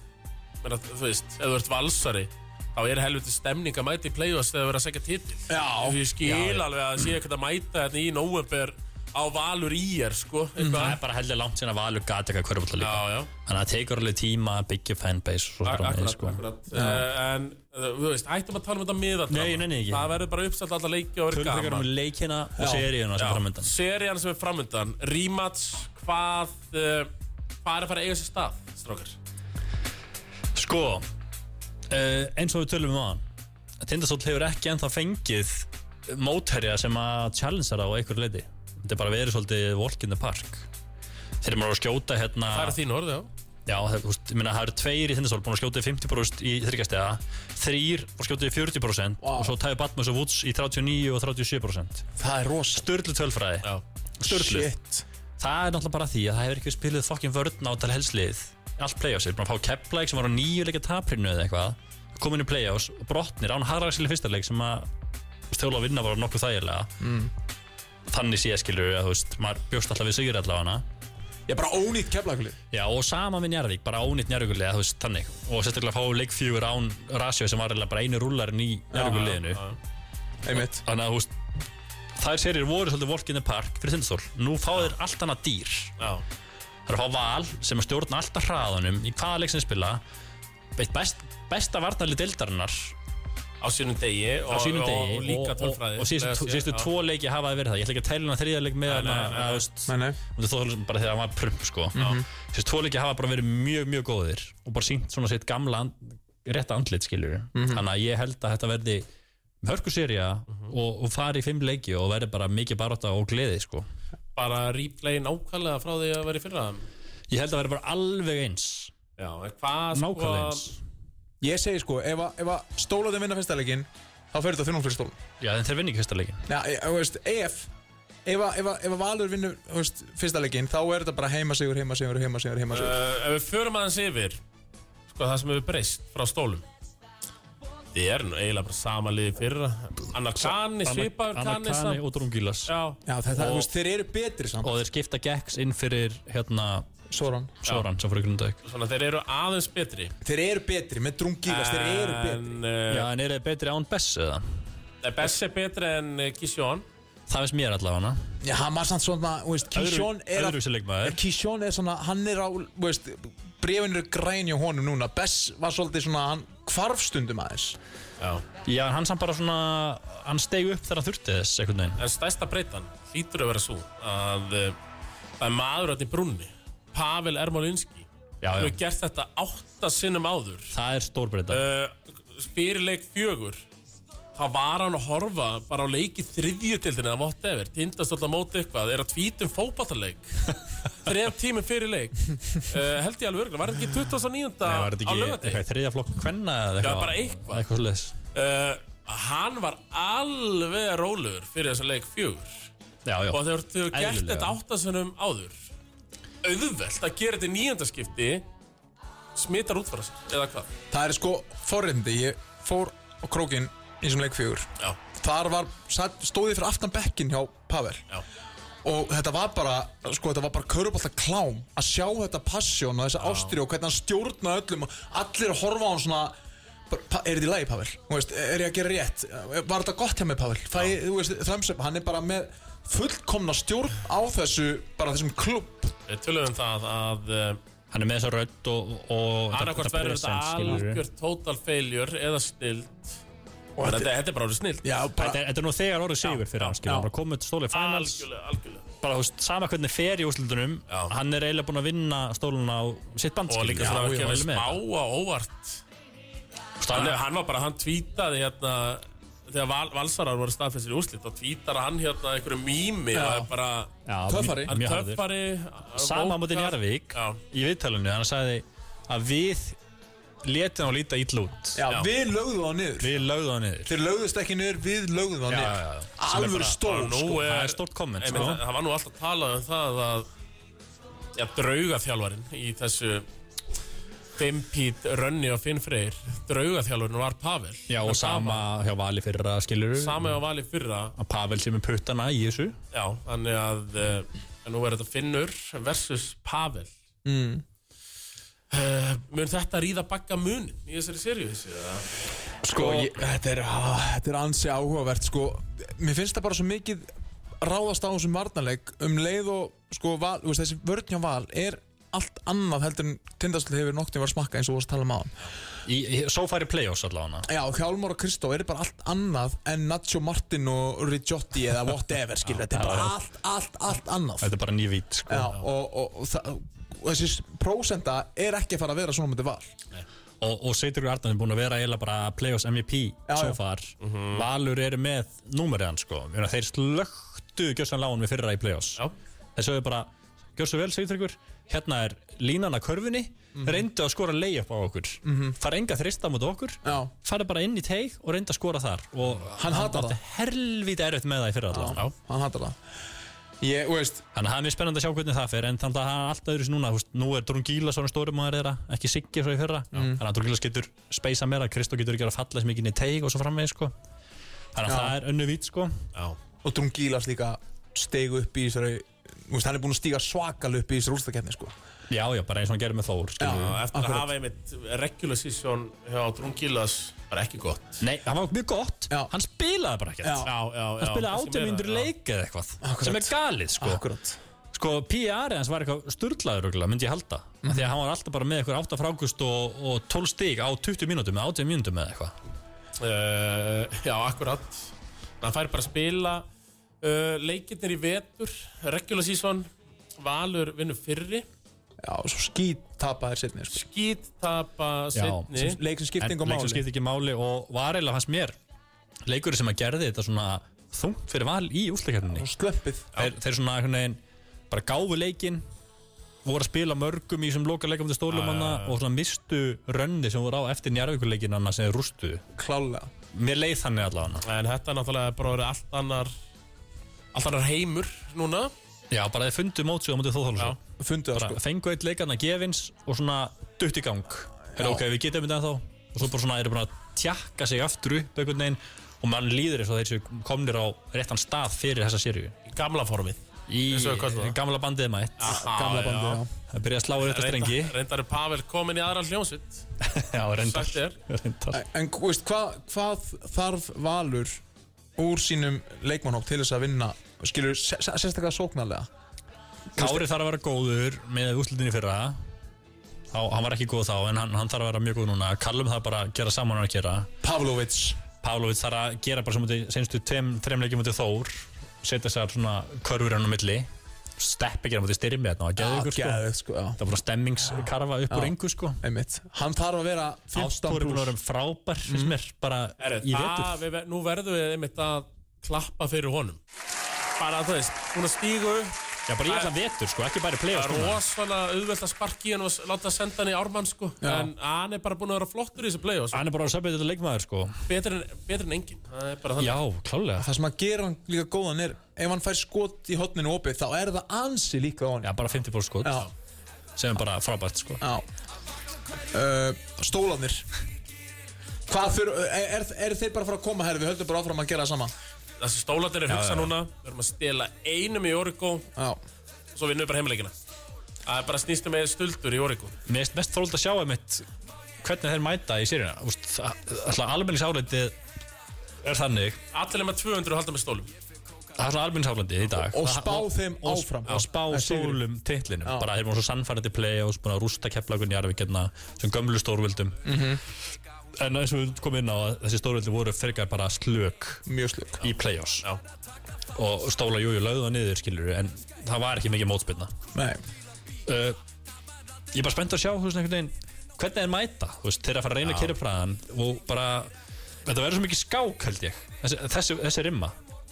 menna, Þú veist, ef þú ert valsari þá er helviti stemning að mæta í play-offs þegar þú verður að segja titil Já. Ef Ég skil alveg að sé ekkert að mæta hérna í november á valur í er sko, Mhm. Það eitthvað. er bara heldur langt síðan að valur gati eitthvað hverjum líka Já, já. Þannig að það tekur alveg tíma að byggja fanbase og svo Ak- framvegis, Akkurat, sko. akkurat uh, En, uh, þú veist, hættum að tala um þetta miðadrama Nei, nei, nei, ekki. Það verður bara uppsett alltaf leiki og verður Tölum frekar um gaman leikina og seríuna sem framöndan Serían sem er framöndan Rímats, hvað uh, Hvað er að fara að eiga sér stað, strókar? Sko, uh, eins og við tölum um aðan Tindastóll hefur ekki ennþá fengið mótherja sem að challengera á einhverju leiti Þetta er bara verið svolítið walk in the park Þeir eru bara að skjóta hérna Það er þín orð, já Já, það, úst, minna, það eru tveir í Tindastóll búin að skjóta í 50% í þryggjastega Þrýr og skjóta í 40% Vá. Og svo tæði Batmus og Woods í 39 og 37% Það er rosa Sturlu tölfræði Já, Sturlu Shit Það er náttúrulega bara því að það hefur ekki spiluð fokkin vörn á til helslið Allt playoffs er búin að fá Keflæk sem var á nýju leikja taprinu eða eitthvað Komin í playoffs og brotnir án Harragsli fyrsta leik sem að stjóla að vinna bara nokkuð þægilega Mm. Þannig sé skilur að þú veist, maður bjóst alltaf við sigur allavega Ég er bara ónýtt keflaglið Já og sama með Njarðvík, bara ónýtt Njarðvíkulið eða þú veist þannig Og sérstaklega fá leikfjúur án Rasjó sem var eiginlega bara einu rúlarinn í Njarðvíkuliðinu Einmitt Þannig að þú veist, þær serjur voru svolítið Walk in the Park fyrir Tindastól Nú fá þeir allt annað dýr já Það er að fá val sem að stjórna alltaf hraðanum í hvaða leik sem þeir spila eitt best, besta varnarli deildarinnar á á sínum degi og, sínum degi og líka og, og, tölfræði og síðustu, Leðast ég, síðustu já. tvo leiki hafa það verið það ég ætla ekki að tæla hana þriðja leik með Nei, hana nei, nei, nei. að, þú veist, Nei, nei þú veist, þó bara þegar hann var prump sko. síðustu tvo leiki hafa bara verið mjög mjög góðir og bara sínt svona sitt gamla and, rétta andlit skilur þannig að ég held að þetta verði hörkuserja og, og fari í fimm leiki og verði bara mikið barátta og gleði sko. bara replay nákvæmlega frá því að vera í fyrra já, ég held að verði bara alveg eins en hvað sko nákvæmlega eins Ég segi sko, ef að, ef að stólaðin vinna fyrsta leikinn Þá fyrir þetta þunum fyrir stólum Já, en þeir vinni ekki fyrsta leikin Já, ég- þú veist, ef Ef, að- ef, að- ef að Valur vinnur þú veist, fyrsta leikinn Þá er þetta bara heimasigur, heimasigur, heimasigur, heimasigur uh, ef við förum aðeins yfir sko það sem hefur breyst frá stólum þið er nú eiginlega bara sama liði í fyrra annar kanni, svipaður Anna kanni Kani samt og Drungilas já, Já, þetta, og- þú veist, þeir eru betri samt og þeir skipta Gex inn fyrir hérna Soran Soran sem fór í Grundavík svona þeir eru aðeins betri Þeir eru betri, með drungílas, þeir eru betri en uh, Já, en eru þeir betri án Bess eða? Bess er betri en uh, Kisjón Það veist mér allavega hana Já, hann var samt svona, þú veist, Kishon er að Öðruvísi leikmaður Kishon er svona, hann er á, þú veist Brefin eru græn hjá honum núna Bess var svolítið svona, hann kvarfstundum aðeins já. Já, en hann samt bara svona Hann steig upp þegar hann þurfti þess einhvern veginn en stærsta breytan hlýtur að vera svo að uh, það er maður átt í brunni Pavel Ermolinski Já, hann já. hefur gert þetta átta sinnum áður Það er stórbreyta uh, fyrir leik fjögur þá var hann að horfa bara á leiki þriðjutildinu eða whatever, tindast alltaf móti eitthvað er að tvítum fótballaleik þrejum tímum fyrir leik uh, held ég alveg örgulega, var þetta ekki 29. Það var þetta á ekki lögati eitthvað í þriðja flokk kvenna eða Já, eitthvað bara eitthvað. Eitthvað sliðis uh, hann var alveg rólegur fyrir þessa leik fjögur Já, já og þegar þú hefur gert Eðlilega. þetta áttasunum áður auðvelt að gera þetta í nýjandaskipti smitar út frá sér, eða hvað Það er sko forrindi, ég fór á krókin í þessum leikfjögur já, Þar var, sat- stóð ég fyrir aftan bekkin hjá Pavel já, og þetta var bara, sko, þetta var bara körubólta klám að sjá þetta passjón og þessa ástri og hvernig hann stjórna öllum og allir að horfa á hann svona bara, "Pa- er þetta í lagi Pavel, Þú veist, er ég að gera rétt var þetta gott hjá mig Pavel Fæ, þú veist, þremsöp, hann er bara með fullkomna stjórn á þessu bara þessum klubb við tölum um það að uh, Hann er með þessa rödd og, og annarkvort verður þetta presence, skilurðu. algjör total failure eða snilt þetta, þetta er bara orðið snilt já, bara, Þetta er- þetta er nú þegar orðið sigur fyrir hann skilur já. Hann bara komið til stólið finals algjörlega, algjörlega bara, þú veist, sama hvernig fer í úrslutunum Já. hann er eiginlega búinn að vinna stóluna á sitt band og skilur. líka Já, svona að ég kemur mæli smá með þetta. á óvart Þú veist, hann, hann- hann var bara, hann tweetaði hérna þegar val, valsarar voru staðfæstir í úrslit þá tweetar hann hérna einhverju mými og er bara, Já, Töffari. mjög- hann mjög harður. töffari sama á móti rókar. Njarðvík Já. í viðtalinu, hann sagði að við letum á líta ítl út Já, Já. við lögðum það niður við lögðum það niður Þeir lögðust ekki niður, við lögðum það Já, niður já, já. Sem er Alvöru bara- Nú stór, sko er, það er stórt komment, Nei, sko. menn, Það var nú alltaf talað um það að ja, draugaþjálfarin í þessu Fimpít, Rönni og Finn Freyr draugaþjálfarin var Pavel Já, og En sama hjá Vali fyrra skilur sama- Sama á vali fyrra að Pavel sem er puttana í þessu Já, þannig að uh, nú er þetta Finnur versus Pavel Mm. Eh, mun þetta ríða bagga munin í þessari sériu þessi? Sko, ég, þetta, er, á, þetta er ansi áhugavert sko. Mér finnst það bara svo mikið ráðast á þessum varnarleik um leið og sko, val, þú veist, þessi vörn hjá val er allt annað heldur en tindastlið hefur noktið var að smakka eins og þú varst að tala um á í, í, svo færi play-offs allavega Já, Hjálmar og Kristó er bara allt annað en Nacho Martin og Rigiotti eða whatever, skilur, þetta er bara allt, allt, allt annað þetta er bara nývít sko. Já, og, og, og, það- og þessi prósenda er ekki að fara að vera svona myndi val og, og Seitur Arnarn er búin að vera eiginlega bara play-offs MVP Já, svo já. far Valur eru með númeriðan sko. Ég meina, þeir slögtu Gjössan Láun við fyrra í play-offs Já. þeir sögðu bara Gjörstu vel, Seitryggur, hérna er línan að körfunni, reyndu að skora lay-up á okkur, mm -hmm. fara enga þrista á móti okkur, Já. fara bara inn í teig og reyndu að skora þar og Hann hatar átti helvítið erfitt með það í fyrra allavega það Hann hattar það Ég, þú veist, Þannig að það er mjög spennandi að sjá hvernig það fer en þannig að það er allt öðru sem núna þú veist, Nú er Drún Gíla svona stóri maður þeirra ekki Siggi svo í fyrra Þannig að Drún Gílas getur speisa meira Kristó getur ekki verið að falla sem ekki inn í teig og svo framvegis sko. Þannig að það er önnu vít sko. Já, og Drún Gílas líka steg upp í þessari þú veist, hann er búinn að stíga svakal upp í þessari úrstakefni sko. Já, já, bara eins og hann gerir með Þór Já. skilur við. eftir að Akkurat. hafa einmitt regular season hjá Drungilas var ekki gott Nei, það var mjög gott Já. Hann spilaði bara ekkert Já. já, já Hann spilaði kannski meira, átjömyndur já. leik eða eitthvað Akkurat. Ah. sem er galið sko. akkurat sko PR hans var eitthvað sturlaður örugglega, myndi ég halda mm. því að hann var alltaf bara með eitthvað 8 frákust og, og 12 stík á 20 mínútum eða 18 mínútum eða eitthvað Uh, já, akkurat Það fær bara að spila uh, Leikirnir í vetur Regular season Valur vinnur fyrri já, og svo skít tapaðir setni sko. Skít tapa Já, setni leik sem skipti En engum leik sem máli skipti ekki máli og var eiginlega hans mér leikur sem að gerði þetta svona þungt fyrir val í úsleikjarninni og slöppið þeir, þeir svona einhvern veginn bara gáfu leikinn voru að spila mörgum í þessum loka leikum til stólum hana og svona mistu rönni sem voru á eftir njárvíkurleikin hana sem þeir rústu klálega mér leið þannig allavega En þetta er náttúrulega bara verið allt annar Allt annar heimur núna já bara þeir fundu mótsið á mótið þóðhólusson fundu það bara sko. fengu eitt leikarna gefins og svona dutt í gang er ok, við getum þetta ennþá og svo bara svona eru bara að tjakka sig aftur upp einhvern veginn og mann líður eins og þeir séu komnir á réttan stað fyrir þessa sérju Í gamla formið í Eins og hvað er það? gamla bandið mætt gamla já. bandið, að byrja að slá rétt að strengi Reyndar- Reyndar er Pavel komin í aðra hljómsvitt já, reyndar, Sagt er reyndar. já en þú veist, hvað, hvað þarf Valur úr sínum leikmannhók til þess að vinna skilur, se- se- sérstaklega sóknarlega Kári þarf að vera góður með úslutinni fyrra þá, hann var ekki góð þá en hann, hann þarf að vera mjög góð núna Kallum þarf bara að gera saman hann að gera Pavlovic Pavlovic þarf að gera bara sem þetta senstu þrem leikjum mútið Þór setja þessar svona körfur hann á milli stepp ekki hann mútið styrmi þarna og að geða ykkur sko geðið sko já, það var bara stemmingskarfa upp úr engu sko einmitt hann þarf að vera 15 Ástóri búin að pluss vera frábær finnst mér bara Herri, í vetur það, við, ver- Nú verðum við einmitt að klappa fyrir honum Bara þú veist, hún að stígu Já, bara í allan vetur sko, ekki bara í play-offs Það er núna. rosalega auðvelt að sparki hann og s- láta senda hann í ármann sko Já. En hann er bara búin að vera flottur í þessu play-offs Hann er bara að söpja þetta leikmaður sko Betri en, betri en engin Það er bara þannig Já, klálega það sem að gera hann líka góðan er ef hann fær skot í hotninu opið þá er það ansi líka á hann Já, bara 50% skot Já, sem er bara frábært sko já. Uh, Stólanir Hvað fyrir, er, er þeir bara að fara að koma herri, við höldum bara áfram að gera það sama Þessi stólatir er hugsa já. núna Við erum að stela einum í Origo og Já, Svo vinnum við bara heimleikina Það er bara snýstum með stuldur í Origo Mér finnst mest þróld að sjá einmitt hvernig þeir mæta í sérina Alltaf almenningsáleitið er þannig Allir með 200 og halda með stólum Það er alltaf almenningsáleitið í dag Og- og Það- spá þeim og- áfram. Og spá Það er sigri. stólum titlinum Já. bara þeir eru svo sannfærandi play og búin að rústa keflagun í Arvíkjarna sem gömlu stórvildum Mhm. En eins og við komum inn á að þessi stórvildi voru frekar bara slök mjög slug í play-offs Já. og stóla jújú lögðu það niður skilur en það var ekki mikið mótspilna Nei, uh, ég er bara spennt að sjá þú veist, einhvern veginn, hvernig þeir mæta þú veist, þeir að fara að reyna að kýra praðan og bara, þetta verður svo mikið skák held ég, þessi, þessi, þessi rimma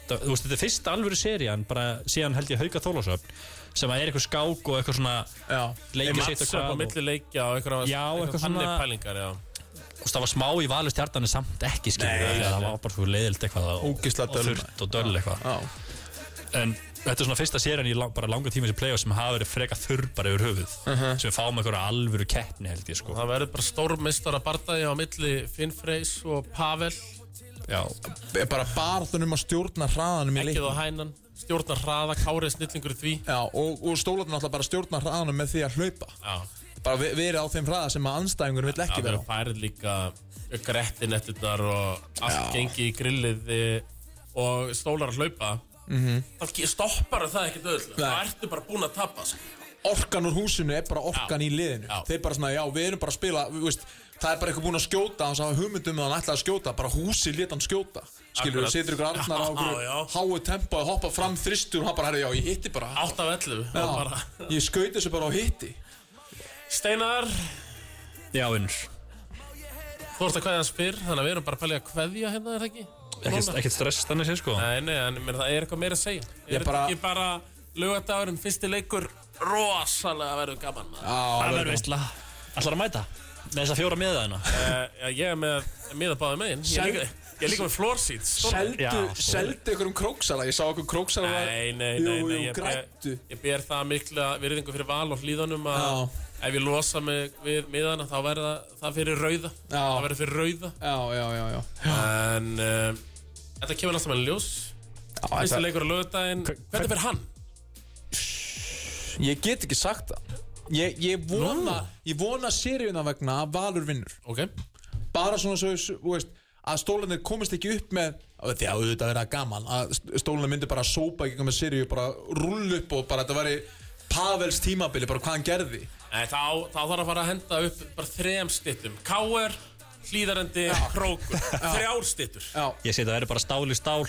það, þú veist, þetta er fyrsta alvöru serían bara síðan held ég Hauka Þólasöfn sem að er eitthvað skák og eitthvað svona já leikir sitt og Matsa hvað á og, og, milli leikja og einhverja Já, eitthvað þannig svona- pælingar, já það var smá í valur stjartan en samt ekki skilur Nei, Nei, það var bara svo leiðilt eitthvað og, Ógeðslega og döl. þurrt og döl eitthvað Já, en þetta er svona fyrsta séran í lang, bara langa tíma sem playoff sem hafa verið freka þurrbar yfir höfuð sem við fáum einhverja alvöru keppni held ég sko Það verður bara stórmistara bardagi á milli Finn Freys og Pavel Já, B- bara barðunum að stjórna hraðanum í Ekkið leiknum og Hænan Stjórnar hraða, Kárið snillingur í því Já, og, og stólarnir alltaf bara stjórna hraðanum með því að hlaupa Já, bara ve- verið á þeim hraða sem að anstæðingur vill ekki það vera verður á færið líka Grettinettirnar og allt Já. gengi í grillið eh, og stólar að hlaupa mm -hmm. Stoppar það ekkert öll Nei. Það ertu bara búin að tapa sko. Orkan úr húsinu er bara orkan í liðinu Já. Þeir bara svona, já, við erum bara að spila við, veist, Það er bara eitthvað búin að skjóta Þannig að hugmyndum að hann ætlaði að skjóta Bara húsi lét hann skjóta Skilur Akkurat. við, setur ykkur arnar á Já, okkur já. Háu tempo að hoppa fram þristur Og hann bara, herri, já, ég hitti bara Átt af ellu já, bara... Ég skaut þessu bara á hitti Steinar, Já, vinnur þú ert að kveðja hans fyrr Þannig að við erum bara að pælja að kveðja hérna, er það ekki? Ekkert, ekkert stress þannig sér sko Nei, nei, en mér, það er eitthvað meira að segja Er þetta bara- ekki bara lögadagurinn, fyrsti leikur Rosalega verður gaman maður. Það Já, verður veistla Allar að mæta Með þess að fjóra miða þeirna uh, Ég er með miða báði megin Ég er líka, ég er líka með floor seats sko. Stórlega. Já, Seldu, svo- seldu ykkur um króksala Ég sá okkur króksala var- Nei, nei, Jú, nei, nei jú, ég, græddu. ber, ég ber það mikla virðingu fyrir val og hlýðanum að Já. ef ég losa mig við miðana þá verður það, það fyrir rauða Já. það verður fyrir rauða Já, já, já, já en uh, þetta kemur alltaf með ljós fyrsti leikur á lögudaginn hvernig fyrir hann? Ég get ekki sagt það Ég, ég vona, Nú. ég vona seríuna vegna að Valur vinnur ok, Bara svona svo, þú veist að stólanir komist ekki upp með því að auðvitað verða gaman að stólanir myndi bara sópa ekki með seríu bara rull upp og bara þetta væri Pavels tímabili, bara hvað hann gerði Nei, þá, þá þarf að fara að henda upp bara þrejum stittum K.R. hlýðarendi krókur þrjár stittur Já, Ég segi það verður bara stál í stál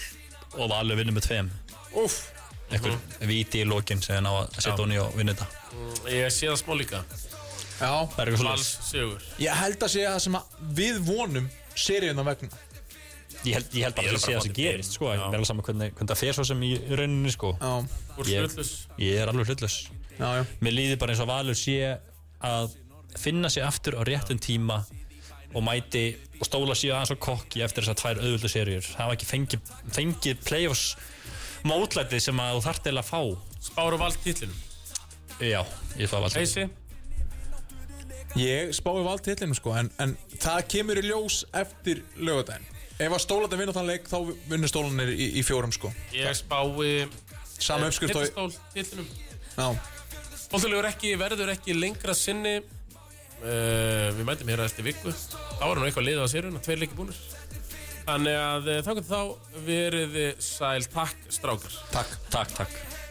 Og valur vinnum með tveim uff Ekkur viti í lokin sem hann á að setja honi og vinna þetta ég sé það smá líka Já, Það er eitthvað Vals svolítið sigur ég held að segja það sem að við vonum seríuna vegna ég, held- ég held bara Ég er bara að það sé það sem bóndi gerist sko Ég Já. er alveg saman hvernig, hvernig það fer svo sem í rauninni sko Já, Úr Ég- slutlus Ég er alveg hlutlös já, já Mér líður bara eins og valur sé að finna sig aftur á réttum tíma og mæti og stóla síðan aðeins og kokki eftir þessar tvær auðvöldu serjur hafa ekki fengið, fengið playoffs mótlætið sem að þú þarft til að fá spáru vald títlinum Já, ég fá alltaf Heisi, Ég spái valdtillinu sko en, en það kemur í ljós eftir lögadaginn Ef að stólarnir vinna þann leik þá vinnur stólarnir í, í fjórum sko ég spái eh, Sama uppskrift og Hittastól títlinum Já, Bóttilegur ekki, verður ekki lengra sinni uh, Við mætum hér að eftir viku Þá er nú eitthvað liðið á séruna, tveir leikir búnir eh, Þannig að þá getur þá verið þið sæl takk strákar takk Takk, takk